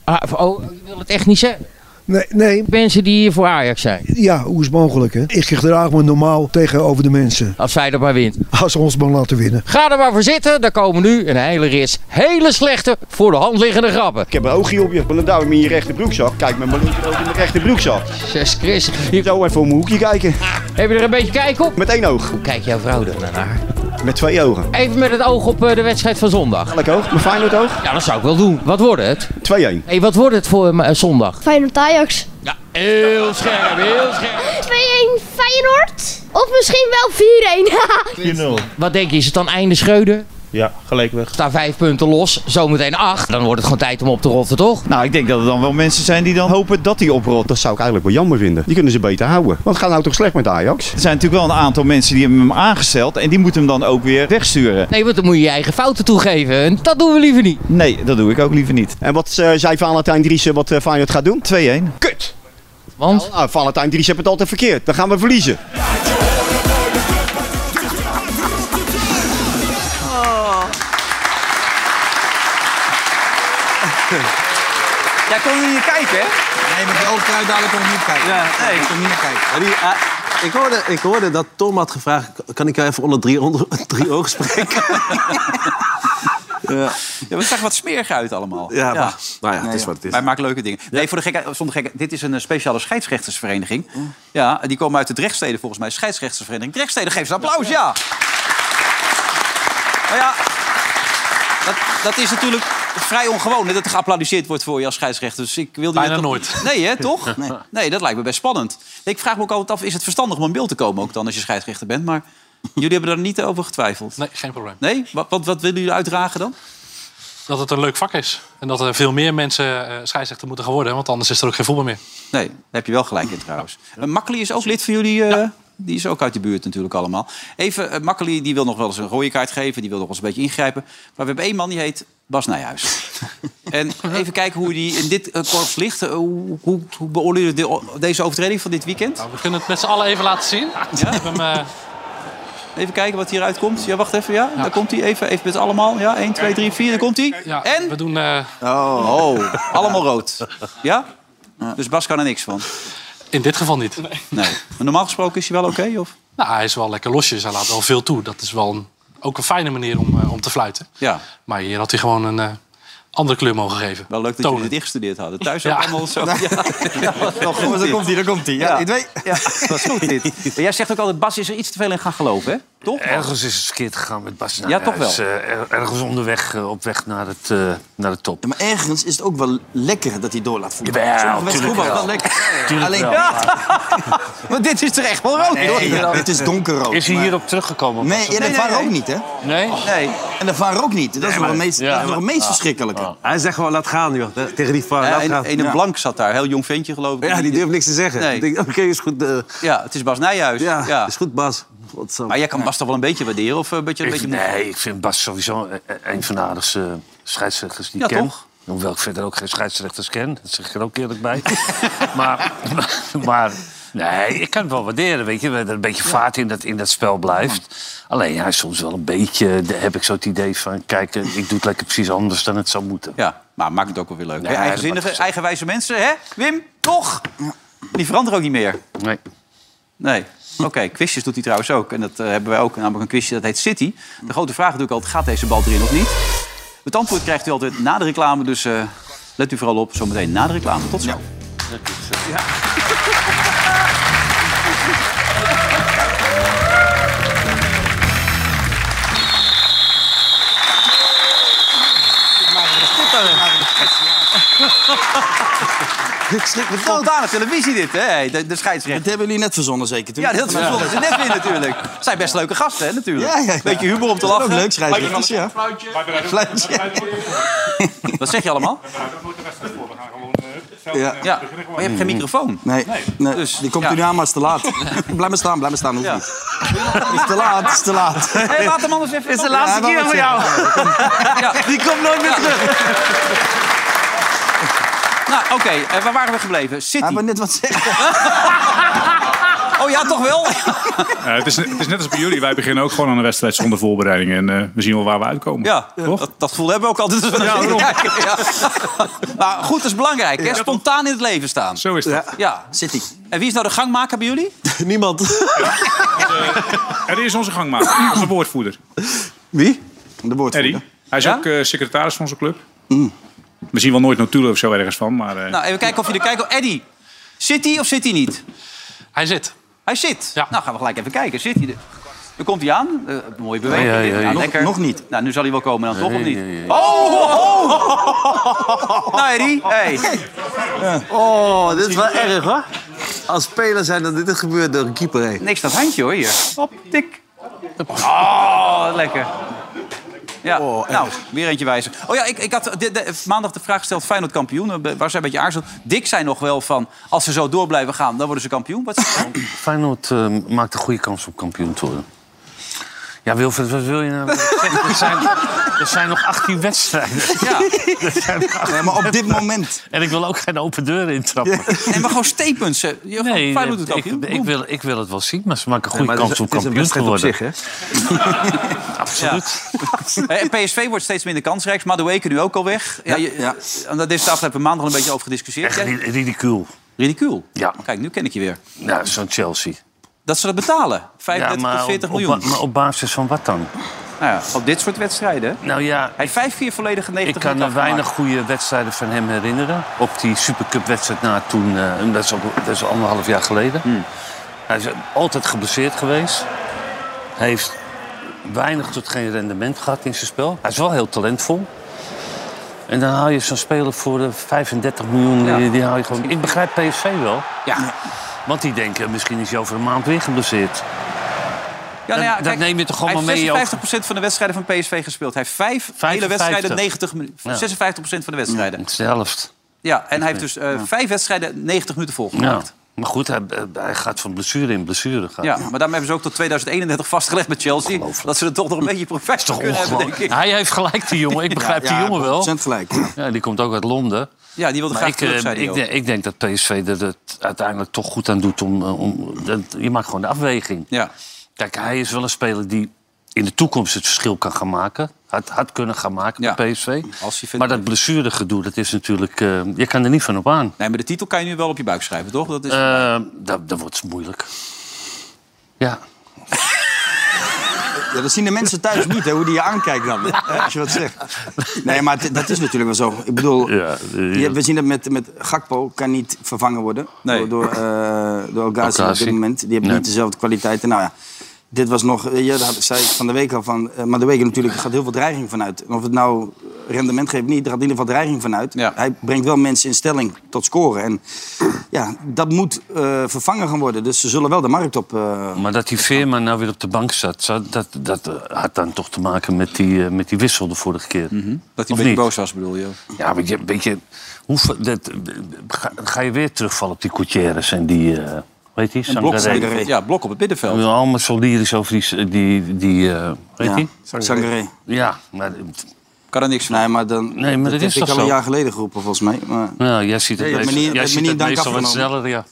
L: Ah, oh, je wil het echt niet zeggen?
O: Nee, nee.
L: Mensen die hier voor Ajax zijn.
O: Ja, hoe is het mogelijk hè? Ik gedraag me normaal tegenover de mensen.
L: Als zij dat maar wint.
O: Als ze ons maar laten winnen.
L: Ga er maar voor zitten, daar komen nu een hele rits hele slechte, voor de hand liggende grappen.
P: Ik heb een oogje op je, dan duw ik me in je rechter broekzak. Kijk met mijn linker oog in mijn rechter broekzak.
L: Zes Chris.
P: Zo even om mijn hoekje kijken.
L: Heb je er een beetje kijk op?
P: Met één oog. Hoe
L: kijkt jouw vrouw er naar?
P: Met twee ogen.
L: Even met het oog op eh, de wedstrijd van zondag.
P: Welk oog? Mijn Feyenoord oog?
L: Ja, dat zou ik wel doen. Wat wordt het?
P: 2-1.
L: Hé, wat wordt het voor eh, zondag?
Q: Feyenoord Ajax.
L: Ja, Heel scherp, heel scherp.
Q: 2-1 Feyenoord. Of misschien [LAUGHS] wel 4-1.
L: Wat denk je, is het dan einde scheuden?
N: Ja, gelijk weg.
L: Staan vijf punten los, zometeen acht. Dan wordt het gewoon tijd om op te rotten, toch?
N: Nou, ik denk dat er dan wel mensen zijn die dan hopen dat hij oprolt.
P: Dat zou ik eigenlijk wel jammer vinden. Die kunnen ze beter houden. Want het gaat nou toch slecht met Ajax?
N: Er zijn natuurlijk wel een aantal mensen die hebben hem aangesteld en die moeten hem dan ook weer wegsturen.
L: Nee, want dan moet je je eigen fouten toegeven. En dat doen we liever niet.
N: Nee, dat doe ik ook liever niet.
P: En wat eh, zei Valentijn Driessen wat eh, Feyenoord gaat doen? 2-1. Kut!
L: Want?
P: Nou, Valentijn Driessen heeft het altijd verkeerd. Dan gaan we verliezen.
B: Jij kon er niet kijken, hè?
F: Nee, met die oogkruid dadelijk kon ik niet kijken. Ja, nee. Ik kon niet naar kijken.
R: Maar die, eh, ik, hoorde, ik hoorde dat Tom had gevraagd... kan ik jou even onder drie, onder,
G: [LAUGHS]
R: drie ogen
B: [LAUGHS]
R: spreken?
B: Ja. ja, we zag wat smerig uit allemaal.
R: Ja, maar- nou ja, het is wat het is.
B: Wij maken leuke dingen. Nee, voor de gekheid, zonder gekheid, dit is een eh, speciale scheidsrechtersvereniging.
R: Oh.
B: Ja, die komen uit de Drechtsteden volgens mij. Scheidsrechtersvereniging. Drechtsteden, geef ze een applaus, ja. Nou ja, dat, dat is natuurlijk vrij ongewoon hè, dat er geapplaudisseerd wordt voor je als scheidsrechter. Dus ik wilde
F: Bijna
B: je toch-
F: nooit.
B: Nee, hè, toch? Nee. nee, dat lijkt me best spannend. Ik vraag me ook altijd af, is het verstandig om in beeld te komen ook dan als je scheidsrechter bent? Maar jullie hebben daar niet over getwijfeld.
S: Nee, geen probleem.
B: Nee? Wat, wat, wat willen jullie uitdragen dan?
S: Dat het een leuk vak is. En dat er veel meer mensen eh scheidsrechter moeten gaan worden. Want anders is er ook geen voetbal meer.
B: Nee, daar heb je wel gelijk in trouwens. Eh, Makkely is ook lid van jullie. eh, Die is ook uit de buurt natuurlijk allemaal. Even, eh, Makkely die wil nog wel eens een rode kaart geven. Die wil nog wel eens een beetje ingrijpen. Maar we hebben één man die heet
S: [LAUGHS]
B: Bas Nijhuis. en even kijken hoe die in dit eh, korps ligt. Eh, hoe, hoe, hoe beoordeel je de- deze overtreding van dit weekend?
S: Nou, We kunnen het met z'n allen even laten zien. eh, Ja?
B: Even kijken wat hieruit komt. Ja, wacht even. Ja, daar komt hij. Even, even met allemaal. Ja, 1, 2, 3, 4. Daar komt hij. en?
S: We doen... eh,
B: Oh, oh, allemaal rood. Ja? Dus Bas kan er niks van.
S: In dit geval niet. Nee.
B: Maar normaal gesproken is hij wel oké? of?
S: Nou, hij is wel lekker losjes. Hij laat wel veel toe. Dat is wel een, ook een fijne manier om, eh, om te fluiten.
B: Ja.
S: Maar hier had hij gewoon een eh, andere kleur mogen geven.
B: Wel leuk dat jullie dit gestudeerd hadden. Thuis ook
S: Ja.
B: allemaal zo. Ja, Ja, wat
S: Daar
B: goed dit.
S: komt-ie, daar
E: komt-ie.
S: Ja, ik weet-
B: Ja, wat goed dit. Maar Jij zegt ook altijd, Bas is er iets te veel in gaan geloven, hè? Toch?
D: Ergens is het verkeerd gegaan met Bas
B: Ja, toch wel.
D: Nijhuis, eh, er- ergens onderweg eh, op weg naar, het, eh, naar de top.
E: maar ergens is het ook wel lekker dat hij door laat voetballen.
D: Jawel,
E: Sommige wedstrijden
D: tuurlijk
E: voetballen lekker.
D: wel. Tuurlijk
E: Alleen,
D: wel.
B: Maar dit is er echt wel rood,
E: Nee,
B: hoor.
E: ja, dit is donkerrood.
D: Is hij
E: maar-
D: hierop teruggekomen?
E: Nee, en de VAR ook niet, hè?
S: Nee?
B: Nee.
E: En de VAR ook niet. Dat is nog het meest, dat is nog het
D: Ah.
E: meest verschrikkelijke.
F: Hij zegt gewoon, laat gaan, joh. Tegen die VAR,
B: Ja,
F: laat
B: en,
F: gaan.
B: en een
F: Ja.
B: blank zat daar, heel jong ventje geloof ik.
F: Ja, die durft niks te zeggen.
B: Nee.
F: Ik denk, Oké, is goed. eh,
B: Ja, het is Bas Nijhuis.
F: ja,
B: Ja,
F: is goed, Bas. Godzo.
B: Maar jij kan Bas toch wel een beetje waarderen? Of eh, een beetje, een
D: Ik-
B: beetje
D: nee, ik vind Bas sowieso een- een van de aardigste eh, scheidsrechters die
B: Ja,
D: ik ken.
B: toch?
D: Hoewel ik verder ook geen scheidsrechters ken. Dat zeg ik er ook eerlijk bij. [LAUGHS] maar, [LAUGHS] maar, maar nee, ik kan het wel waarderen. Weet je, dat er een beetje vaart in dat, in dat spel blijft. Alleen ja, soms wel een beetje eh, heb ik zo het idee van... kijk, eh, ik doe het lekker precies anders dan het zou moeten.
B: Ja, maar maakt het ook wel weer leuk.
D: Nee,
B: Weer
D: dat
B: eigenzinnige,
D: maakt
B: eigenwijze mensen, hè? Wim, toch? Die veranderen ook niet meer.
D: Nee.
B: Nee. Oké, quizjes doet hij trouwens ook. En dat eh, hebben wij ook, namelijk een quizje dat heet City. De grote vraag natuurlijk altijd, gaat deze bal erin of niet? Het antwoord krijgt u altijd na de reclame. Dus eh, let u vooral op, zometeen na de reclame. Tot zo.
E: Ik [LAUGHS] slik me
B: Spontane televisie dit, hè? De, de scheidsrechter.
E: Dat hebben jullie net verzonnen, zeker?
B: Ja, dat verzonnen ze net weer natuurlijk. Zijn best leuke gasten, hè, natuurlijk.
E: Ja, ja, ja.
B: Beetje humor om te
E: Dat is ook
B: lachen.
E: leuk, scheidsrechters, ja.
B: [LAUGHS] Wat zeg je allemaal?
E: Ja.
B: Ja, maar je hebt geen microfoon. Dus,
E: Nee, nee. die komt u nu aan, maar is te laat. blijf maar staan, blijf maar staan. Hoeft niet. is te laat, is te laat.
B: Hey, laat hem anders even.
E: Is de laatste keer voor jou.
B: [LAUGHS] Die komt nooit meer terug. [LAUGHS] Nou, oké, eh, waar waren we gebleven? City.
E: Hij wil net wat zeggen.
B: [LAUGHS] Oh ja, toch wel?
T: Ja, het, is, het is net als bij jullie. Wij beginnen ook gewoon aan een wedstrijd zonder voorbereiding. En eh, we zien wel waar we uitkomen.
B: Ja, dat, dat gevoel hebben we ook altijd. als we naar zitten kijken, ja. [LAUGHS] Maar goed is belangrijk, hè? Spontaan in het leven staan.
T: Zo is
B: dat. Ja.
E: City.
B: En wie is nou de gangmaker bij [LAUGHS] jullie?
T: Niemand. Er is onze gangmaker. Onze woordvoerder.
E: Wie? De woordvoerder.
T: Eddie. Hij is ook eh, secretaris van onze club. We zien wel nooit notulen of zo ergens van. Maar, eh,
B: Nou, even kijken of je er kijkt. Oh, Eddie, zit hij of zit hij niet?
S: Hij zit.
B: Hij zit? Nou, gaan we gelijk even kijken. Zit hij er? Daar komt hij aan. Eh, mooie beweging.
E: Ja, ja, ja, ja.
B: Nou,
E: Nog-
B: lekker.
E: nog niet.
B: Nou, nu zal hij wel komen dan, toch? Oh,
E: Nee,
B: of niet?
E: nee, nee.
B: Oh, oh, oh! nou, Eddie. Hey.
R: Oh, dit is wel erg hoor. Als speler zijn dat dit gebeurt door een keeper heen.
B: Niks dat handje hoor hier. Hop, tik. Oh, wat lekker. Ja,
E: Oh,
B: nou, weer eentje wijzen. Oh ja, ik, ik had de- de- maandag de vraag gesteld... Feyenoord kampioen, eh, waar zij een beetje aarzelen. Dick zei nog wel van, als ze zo door blijven gaan... dan worden ze kampioen. Wat zei hij?
D: Feyenoord eh, maakt een goede kans op kampioen te worden. Ja, Wilfred, wat wil je nou? [LAUGHS] Er zijn, er zijn nog 18 wedstrijden.
B: [LAUGHS] Ja.
E: Nee, maar op dit moment.
D: En ik wil ook geen open deur intrappen.
B: Nee, maar gewoon steepuns. [LAUGHS] Nee, Feyenoord doet
D: ik,
B: kampioen.
D: ik, wil, ik wil het wel zien, maar ze maken een
B: Nee,
D: goede
B: maar
D: kans
B: het
D: om
B: is- het is een
D: kampioen te worden.
B: wedstrijd op
D: Absoluut. [LAUGHS]
B: Eh, En PSV wordt steeds minder kansrijk. Madueke nu ook al weg. Ja, je, Aan deze tafel hebben we maandag al een beetje over gediscussieerd. Jij-
D: Ridicuul.
B: Ridicuul?
D: Ja.
B: Kijk, nu ken ik je weer.
D: Nou, zo'n Chelsea.
B: Dat ze dat betalen. 35
D: maar
B: tot
D: op-
B: 40
D: op
B: miljoen.
D: ba- maar op basis van wat dan?
B: Nou ja, op dit soort wedstrijden.
D: Nou ja,
B: Hij heeft 5-4 volledige 90
D: Ik kan me
B: minuten
D: weinig
B: afgemaakt.
D: goede wedstrijden van hem eh, herinneren. Op die Supercup-wedstrijd na toen, eh, en dat, is al, dat is al anderhalf jaar geleden.
B: Hmm.
D: Hij is altijd geblesseerd geweest. Hij heeft weinig tot geen rendement gehad in zijn spel. Hij is wel heel talentvol. En dan haal je zo'n speler voor de 35 miljoen.
B: Ja.
D: Die, die haal je gewoon. Ik begrijp PSV wel.
B: Ja.
D: Want die denken, misschien is hij over een maand weer geblesseerd.
B: Ja, nou ja,
D: dat- dat neem je toch allemaal
B: hij
D: mee,
B: heeft
D: ook-
B: 56% van de wedstrijden van PSV gespeeld. Hij heeft vijf hele
D: 55.
B: wedstrijden 90 minuten.
D: Ja.
B: 56% van de wedstrijden.
D: Het is de helft.
B: Ja, en hij heeft dus eh,
D: Ja.
B: vijf wedstrijden 90 minuten
D: Ja.
B: volgemaakt.
D: Maar goed, hij, hij gaat van blessure in blessure.
B: Ja.
D: Gaat.
B: maar daarmee hebben ze ook tot 2031 vastgelegd met Chelsea... dat ze er toch nog een beetje profijt van kunnen hebben, denk ik.
D: Hij heeft gelijk, die jongen. Ik begrijp
B: Ja,
D: die
B: ja,
D: jongen wel.
E: 100% gelijk.
D: Ja, die komt ook uit Londen.
B: Ja, die wilde
D: Maar
B: graag
D: ik,
B: terug,
D: eh,
B: zei hij
D: ik,
B: ook.
D: denk- ik denk dat PSV er het uiteindelijk toch goed aan doet om... eh, om dat, je maakt gewoon de afweging.
B: Ja.
D: Kijk, hij is wel een speler die in de toekomst het verschil kan gaan maken. Had, had kunnen gaan maken bij PSV. maar dat blessuregedoe, dat is natuurlijk... eh, je kan er niet van op aan.
B: Nee, maar de titel kan je nu wel op je buik schrijven, toch? Dat is...
D: Eh, dat, dat wordt moeilijk. Ja.
E: Ja, dat zien de mensen thuis niet, hè, hoe die je aankijkt dan. hè, als je wat zegt. Nee, maar het- dat is natuurlijk wel zo. Ik bedoel, je- we zien dat met, met Gakpo kan niet vervangen worden door, door, eh door El Ghazi op
D: Elgazi.
E: dit moment. Die hebben
D: Nee.
E: niet dezelfde kwaliteiten. Nou ja, dit was nog, eh, ja, daar zei ik van de week al van, eh, maar de week natuurlijk gaat heel veel dreiging vanuit. En of het nou rendement geeft of niet, er gaat in ieder geval dreiging vanuit. Hij brengt wel mensen in stelling tot scoren. En ja, dat moet eh, vervangen gaan worden. Dus ze zullen wel de markt op. eh,
D: Maar dat die Veerman nou weer op de bank zat, zou- dat, dat eh, had dan toch te maken met die, eh, met die wissel de vorige keer.
B: Dat
D: Of
B: hij een beetje
D: niet?
B: boos was, bedoel je?
D: Ja, maar je, weet je, hoe, ver- dat, ga, ga je weer terugvallen op die Coutieres en die, eh weet je,
B: Een blok,
D: Sangaré?
B: ja, blok op het middenveld.
D: We allemaal zo lyrisch over die, die, die eh, weet je?
E: Sangaré.
D: Ja, maar...
B: Kan er niks van.
E: Nee, maar, dan,
D: Nee, maar dat is
E: heb
D: toch
E: ik al een
D: zo?
E: jaar geleden geroepen, volgens mij. Maar...
D: Nou, jij ziet het,
E: Nee, op
D: meest-
E: manier-
D: jij
E: op
D: ziet
E: manier
D: het
E: dank
D: meestal wat
E: afgenomen.
D: sneller,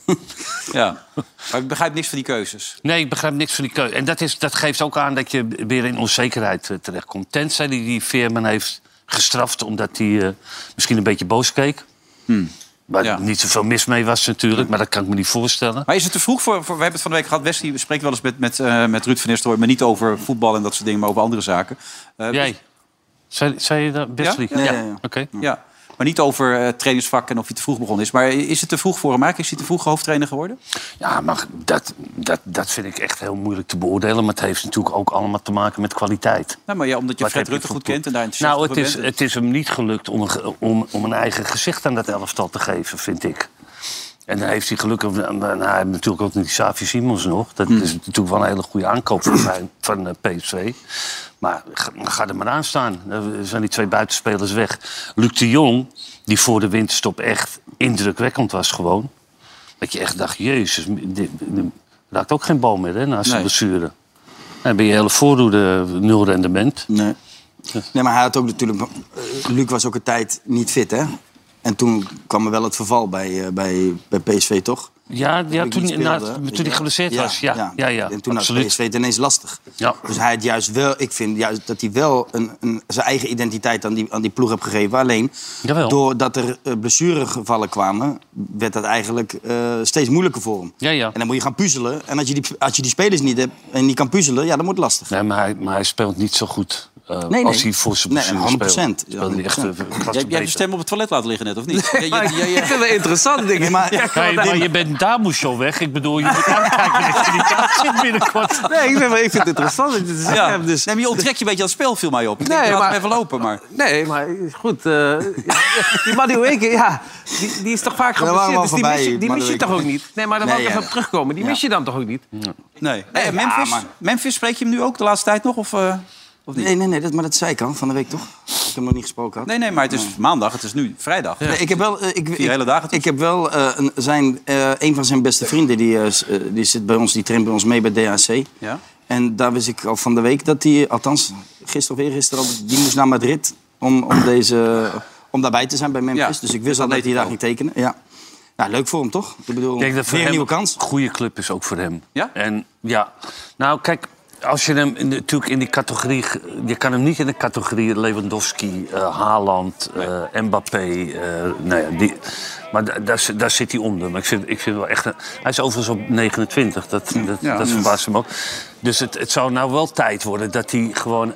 D: ja.
B: Ja. Maar ik begrijp niks van die keuzes.
D: Nee, ik begrijp niks van die keuze. En dat, is, dat geeft ook aan dat je weer in onzekerheid eh, terechtkomt. Tenzij die, die Veerman heeft gestraft omdat hij eh, misschien een beetje boos keek. Waar niet zoveel mis mee was natuurlijk, maar dat kan ik me niet voorstellen.
B: Maar is het te vroeg voor... voor- we hebben het van de week gehad. Wesley spreekt wel eens met, met, eh, met Ruud van Nistelrooy... maar niet over voetbal en dat soort dingen, maar over andere zaken. Eh,
D: Jij? Zei, zei je dat, Wesley?
B: Ja, ja, ja, ja.
D: Oké.
B: Ja, maar niet over eh, trainingsvak en of hij te vroeg begonnen is. Maar is het te vroeg voor hem eigenlijk? Is hij te vroeg hoofdtrainer geworden?
D: Ja, maar dat, dat, dat vind ik echt heel moeilijk te beoordelen. Maar het heeft natuurlijk ook allemaal te maken met kwaliteit.
B: Nou, maar ja, omdat je
D: Wat
B: Fred
D: heb je
B: Rutte
D: voor
B: goed
D: ploeg?
B: kent en daar enthousiast
D: Nou, het
B: over
D: is,
B: bent.
D: het is hem niet gelukt om een, ge- om, om een eigen gezicht aan dat elftal te geven, vind ik. En dan heeft hij gelukkig... Nou, hij heeft natuurlijk ook die Savi Simons nog. Dat
E: Hmm.
D: is natuurlijk wel een hele goede aankoop van, Fijn- van eh, PSV. Maar ga, ga er maar aan staan. Dan zijn die twee buitenspelers weg. Luc de Jong, die voor de winterstop echt indrukwekkend was gewoon. Dat je echt dacht, jezus, dit, dit raakt ook geen bal meer hè, na zijn
E: Nee.
D: blessure. Dan ben je hele voordoede nul rendement.
E: Nee. Nee, maar hij had ook natuurlijk... eh, Luc was ook een tijd niet fit, hè? En toen kwam er wel het verval bij, eh, bij, bij PSV, toch?
D: Ja, ja
E: Luc niet
D: toen, na,
E: speelde, hè?
D: toen hij geblesseerd was. Ja, ja, ja,
E: En toen had
D: absoluut.
E: PSV het ineens lastig.
D: Ja.
E: Dus hij had juist wel... Ik vind juist dat hij wel een, een, zijn eigen identiteit aan die, aan die ploeg heeft gegeven. Alleen,
D: Jawel.
E: doordat er eh, blessuregevallen kwamen... werd dat eigenlijk eh, steeds moeilijker voor hem.
D: Ja, ja.
E: En dan moet je gaan puzzelen. En als je die, als je die spelers niet hebt en niet kan puzzelen... ja, dan wordt het lastig.
D: Nee, maar hij, maar hij speelt niet zo goed. eh,
E: nee.
D: als hij voor zijn
E: Nee,
D: blessure
E: 100%.
D: speelt. Speelt hij echt, eh, een klasse
B: Jij, jij hebt je
D: beter.
B: stem op het toilet laten liggen net, of niet?
D: Nee, maar ik vind het
B: interessant,
D: denk ik. Maar-
B: ja,
U: Nee, maar je bent daar moest zo weg. Ik bedoel, je moet aankijken dat je niet daar [LAUGHS] zit binnenkort.
G: [LAUGHS] Nee, ik, vind, ik vind het interessant. dat je dit
B: Ja.
G: zegt, dus-
B: Nee, maar je onttrekt je een beetje aan het spel, viel mij op. Ik
G: Nee,
B: denk, laat
G: maar-
B: hem even lopen, maar...
G: Nee, maar goed. eh, [LAUGHS] die Madueke, ja, die, die is toch vaak
B: Ja, daar waren we
G: geblesseerd.
B: al
G: Dus die
B: voorbij,
G: mis je, die mis je
B: Madueke.
G: toch ook niet? Nee, maar daar wil
B: Nee,
G: ik
B: ja, ja.
G: even op terugkomen. Die
B: Ja.
G: mis je dan toch ook niet?
B: Nee, nee, Memphis,
E: maar-
B: Memphis, spreek je hem nu ook de laatste tijd nog? Of, eh, of niet?
E: Nee, nee, nee, dat, maar dat zei ik al van de week toch? Ik heb hem nog niet gesproken. Had.
B: Nee, nee, maar het is maandag, het is nu vrijdag.
E: Nee, ik heb wel, eh, ik, ik,
B: hele dagen
E: ik heb wel eh, een, zijn, eh, een van zijn beste vrienden, die, eh, s- eh, die zit bij ons, die traint bij ons mee bij DHC.
B: Ja?
E: En daar wist ik al van de week dat hij, althans gisteren of eergisteren, al, die moest naar Madrid om, om, deze, om daarbij te zijn bij Memphis. dus ik wist al dat hij daar ging tekenen. Ja. Nou, leuk voor hem toch? Ik bedoel,
D: Ik denk dat voor
E: weer een
D: hem
E: nieuwe kans.
D: een goede club is ook voor hem.
B: Ja?
D: En ja, nou kijk, als je hem in de- natuurlijk in die categorie... ge- Je kan hem niet in de categorie Lewandowski, eh, Haaland, eh, Mbappé... eh, nou ja, die, maar da- daar, zit- daar zit hij onder. Maar ik vind, ik vind wel echt... een- hij is overigens op 29, dat, dat,
B: Ja.
D: dat verbaast hem ook. Dus het, het zou nou wel tijd worden dat hij gewoon...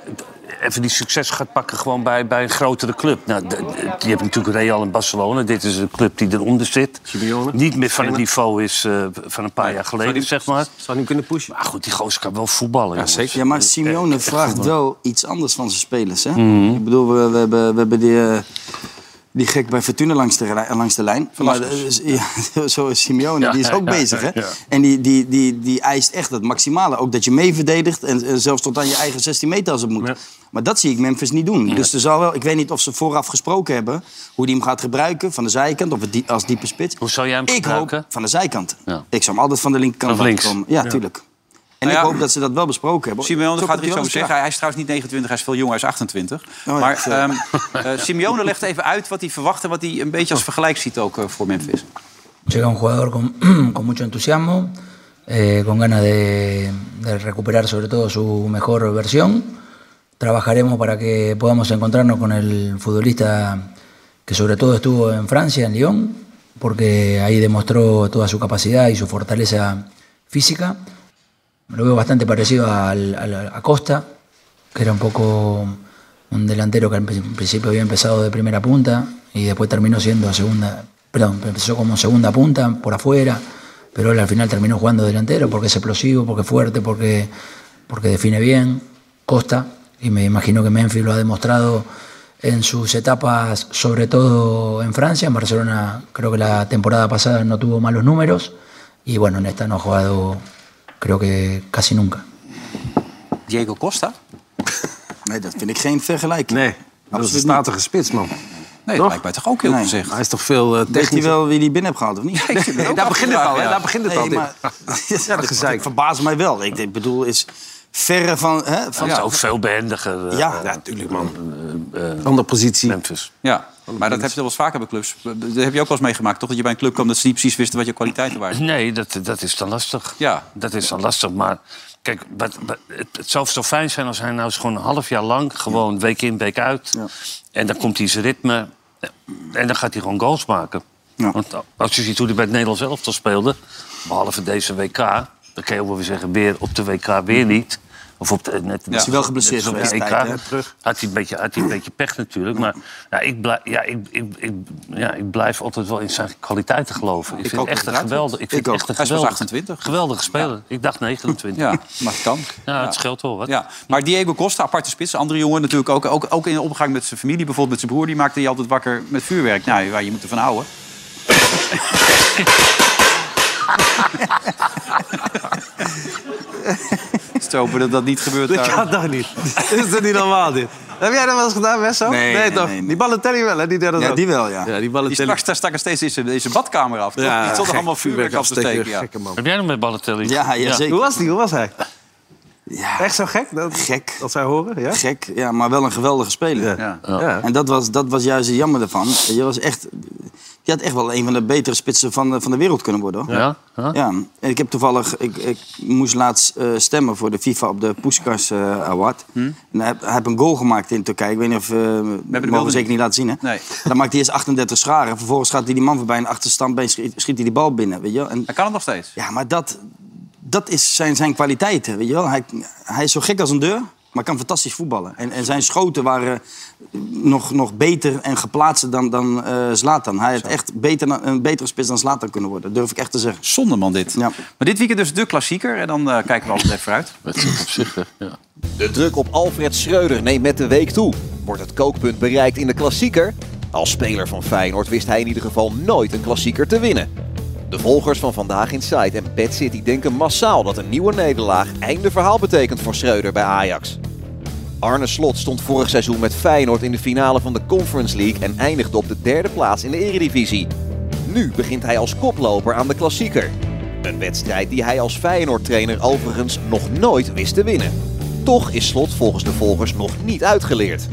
D: Even die succes gaat pakken gewoon bij, bij een grotere club. Nou, d- d- je hebt natuurlijk Real en Barcelona. Dit is een club die eronder zit. Niet meer van het niveau is eh, van een paar jaar geleden, zeg maar.
G: Zou niet kunnen pushen.
D: Maar goed, die gozer kan wel voetballen. jongens.
E: Ja, maar Simeone vraagt
D: voetbal.
E: wel iets anders van zijn spelers. Hè?
D: Mhm.
E: Ik bedoel, we, we hebben, we hebben die, eh, die gek bij Fortuna langs de, rij- langs de lijn. Maar, dat is- ja, [LAUGHS] zo is Simeone,
D: Ja,
E: die is
D: ja,
E: ook
D: ja,
E: bezig. Hè?
D: ja, ja.
E: En die, die, die, die eist echt het maximale. Ook dat je mee verdedigt en, eh, zelfs tot aan je eigen 16 meter als het moet. Maar dat zie ik Memphis niet doen. Dus er zal wel, ik weet niet of ze vooraf gesproken hebben hoe die hem gaat gebruiken. Van de zijkant of het die- als diepe spits.
D: Hoe zou jij hem
E: Ik hoop
D: gebruiken?
E: van de zijkant.
D: Ja.
E: Ik zou hem altijd van de linkerkant
D: Of
E: laten
D: links.
E: komen. Ja,
D: Ja.
E: tuurlijk. En
B: Nou
E: ik
B: ja,
E: hoop dat ze dat wel besproken hebben.
B: Simeone
E: Zo
B: gaat
E: komt
B: er iets
E: hij
B: over
E: wel
B: zeggen. Hij, hij is trouwens niet 29, hij is veel jonger, hij is 28.
E: ja,
B: maar
E: dat, eh.
B: ehm, eh, Simeone legt even uit wat hij verwacht... en wat hij een beetje als vergelijk ziet ook eh, voor Memphis.
V: Llega un jugador con, [CLEARS THROAT] con mucho entusiasmo, eh, con ganas de, de recuperar sobre todo su mejor versión. Trabajaremos para que podamos encontrarnos con el futbolista que sobre todo estuvo en Francia, en Lyon, porque ahí demostró toda su capacidad y su fortaleza física. Lo veo bastante parecido al- al- a Costa, que era un poco un delantero que al prin- principio había empezado de primera punta y después terminó siendo segunda, perdón, empezó como segunda punta por afuera, pero él al final terminó jugando delantero porque es explosivo, porque es fuerte, porque, porque define bien, Costa, y me imagino que Memphis lo ha demostrado en sus etapas, sobre todo en Francia, en Barcelona creo que la temporada pasada no tuvo malos números, y bueno, en esta no ha jugado creo que casi nunca.
B: Diego Costa?
E: Nee, dat vind ik geen vergelijking.
G: Nee, dat is een statige spits, man.
B: Nee, dat lijkt mij toch ook heel gezegd.
G: Hij is toch veel eh
E: Weet hij
G: technisch.
E: wel wie die binnen hebt gehaald, of niet? [LAUGHS]
G: Nee, nee, daar begint het al, hè? Daar begint het al. dit.
E: ja, dat gezeik. verbaast mij wel. Ik denk, bedoel, is verre van... Hè, van
D: Hij is ook veel behendiger. eh,
E: Ah, Ja,
D: eh,
E: natuurlijk, man.
D: eh, eh,
G: Andere positie.
D: Memphis.
B: Ja, maar dat heb je wel eens vaker bij clubs. Dat heb je ook wel eens meegemaakt, toch? Dat je bij een club kwam dat ze niet precies wisten wat je kwaliteiten waren.
D: Nee, dat, dat is dan lastig.
B: Ja.
D: Dat is dan lastig, maar... Kijk, wat, wat- het, het zou zo fijn zijn als hij nou eens gewoon een half jaar lang... gewoon week in, week uit. En dan komt hij zijn ritme. En dan gaat hij gewoon goals maken. Want als je ziet hoe hij bij het Nederlands elftal speelde... behalve deze WK... dan kan je ook wel weer zeggen, weer op de WK weer niet... Of op de, net,
E: Is hij wel geblesseerd
D: net als op de E
E: geweest, tijd,
D: EK.
E: hè? Terug.
D: Had hij een beetje, had hij een beetje pech natuurlijk. Maar ja, ik, blijf, ja, ik, ik, ik, ja, ik blijf altijd wel in zijn kwaliteiten geloven. Ik,
B: Ik
D: vind
B: ook
D: het echt een
B: inderdaad.
D: geweldig.
B: Ik
D: Ik vind het
B: ook.
D: echt een
B: Hij is pas
D: geweldig,
B: 28.
D: Geweldige speler. Ik dacht 29.
B: Ja, maar het kan.
D: [LAUGHS] Ja,
B: Ja.
D: het scheelt wel wat.
B: Ja, maar Diego Costa, aparte spits, andere jongen natuurlijk ook. Ook, ook in de omgang met zijn familie, bijvoorbeeld met zijn broer... die maakte je altijd wakker met vuurwerk. Nou, je, je moet ervan
D: [LAUGHS]
B: houden. Stel hopen dat dat niet gebeurt
G: Dat
B: daar.
G: kan toch niet? [LAUGHS] Is dat niet normaal, dit? Heb jij dat wel eens gedaan, Wesso?
B: Nee, nee,
G: toch?
B: nee, nee.
G: Die Balletelli wel, hè? Die deed dat
B: Ja,
G: ook.
B: die wel, ja.
G: die
B: Die
G: Balletelli.
B: straks, daar stak er steeds in zijn, in zijn badkamer af. toch?
G: Ja,
B: die stond er
G: gek.
B: allemaal vuurwerk af te steken. Ja.
G: Gekke man.
D: Heb jij nog met Balotelli?
E: Ja, ja, zeker.
G: Hoe was die? Hoe was hij?
E: Ja.
G: Echt zo gek? Dat,
E: Gek.
G: Dat zij horen, ja?
E: Gek, ja, maar wel een geweldige speler.
G: Ja. Ja.
E: En dat was, dat was juist het jammer ervan. Je was echt, je had echt wel een van de betere spitsen van de, van de wereld kunnen worden. Hoor.
D: Ja? Ja.
E: En ik heb toevallig, ik, ik moest laatst eh, stemmen voor de FIFA op de Puskas eh, Award.
D: Hm.
E: En hij, hij heeft een goal gemaakt in Turkije. Ik weet niet of, eh, mogen we
B: beelden
E: zeker niet laten zien hè?
B: Nee.
E: [LAUGHS] Dan maakt hij eerst 38 scharen. Vervolgens gaat hij die man voorbij en achterstandbeen schiet, schiet hij die bal binnen. Weet je? wel. En,
B: Hij kan het nog steeds.
E: ja, maar dat, dat is zijn, zijn kwaliteiten. Weet je wel? Hij, hij is zo gek als een deur. Maar kan fantastisch voetballen. En, en zijn schoten waren nog, nog beter en geplaatst dan, dan eh, Zlatan. Hij had echt beter, na- een betere spits dan Zlatan kunnen worden. Durf ik echt te zeggen.
B: Zonde man dit.
E: Ja.
B: Maar dit weekend dus de klassieker. En dan eh, kijken we altijd even uit.
D: Dat is opzichtig, ja.
A: [LAUGHS] De druk op Alfred Schreuder neemt met de week toe. Wordt het kookpunt bereikt in de klassieker? Als speler van Feyenoord wist hij in ieder geval nooit een klassieker te winnen. De volgers van Vandaag Inside en Bad City denken massaal dat een nieuwe nederlaag einde verhaal betekent voor Schreuder bij Ajax. Arne Slot stond vorig seizoen met Feyenoord in de finale van de Conference League en eindigde op de derde plaats in de Eredivisie. Nu begint hij als koploper aan de klassieker. Een wedstrijd die hij als Feyenoord-trainer overigens nog nooit wist te winnen. Toch is Slot volgens de volgers nog niet uitgeleerd.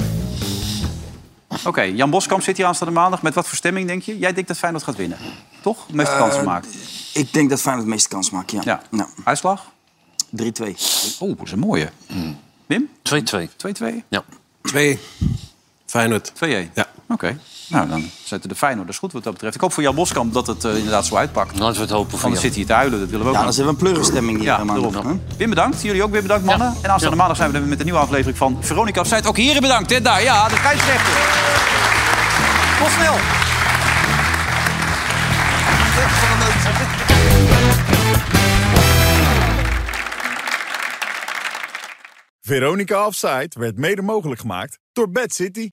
B: Oké, Jan Boskamp zit hier aanstaande maandag. Met wat voor stemming denk je? Jij denkt dat Feyenoord gaat winnen. Toch? De meeste
E: Eh,
B: kansen maakt.
E: Ik denk dat Feyenoord de meeste kans maakt, ja.
B: Ja.
E: Ja.
B: Uitslag?
E: 3-2.
B: Oh, dat is een mooie. Wim?
D: 2-2.
B: 2-2?
D: Ja.
B: 2
G: Feyenoord.
B: 2-1? Ja. Oké. Nou, dan zetten de Feyenoorders goed wat dat betreft. Ik hoop voor Jan Boskamp dat het eh, inderdaad zo uitpakt.
D: Laten we het hopen
B: Anders zit hij te huilen, dat willen we ook
E: Ja,
B: niet.
E: dan zitten we een pleurenstemming hier.
B: Ja, daarom. Wim bedankt, jullie ook weer bedankt mannen. En aanstaande maandag zijn we er weer met een nieuwe aflevering van Veronica Offside. Ook heren bedankt, hè, daar. Ja, de schrijft. Tot snel.
M: Veronica Offside werd mede mogelijk gemaakt door Bad City.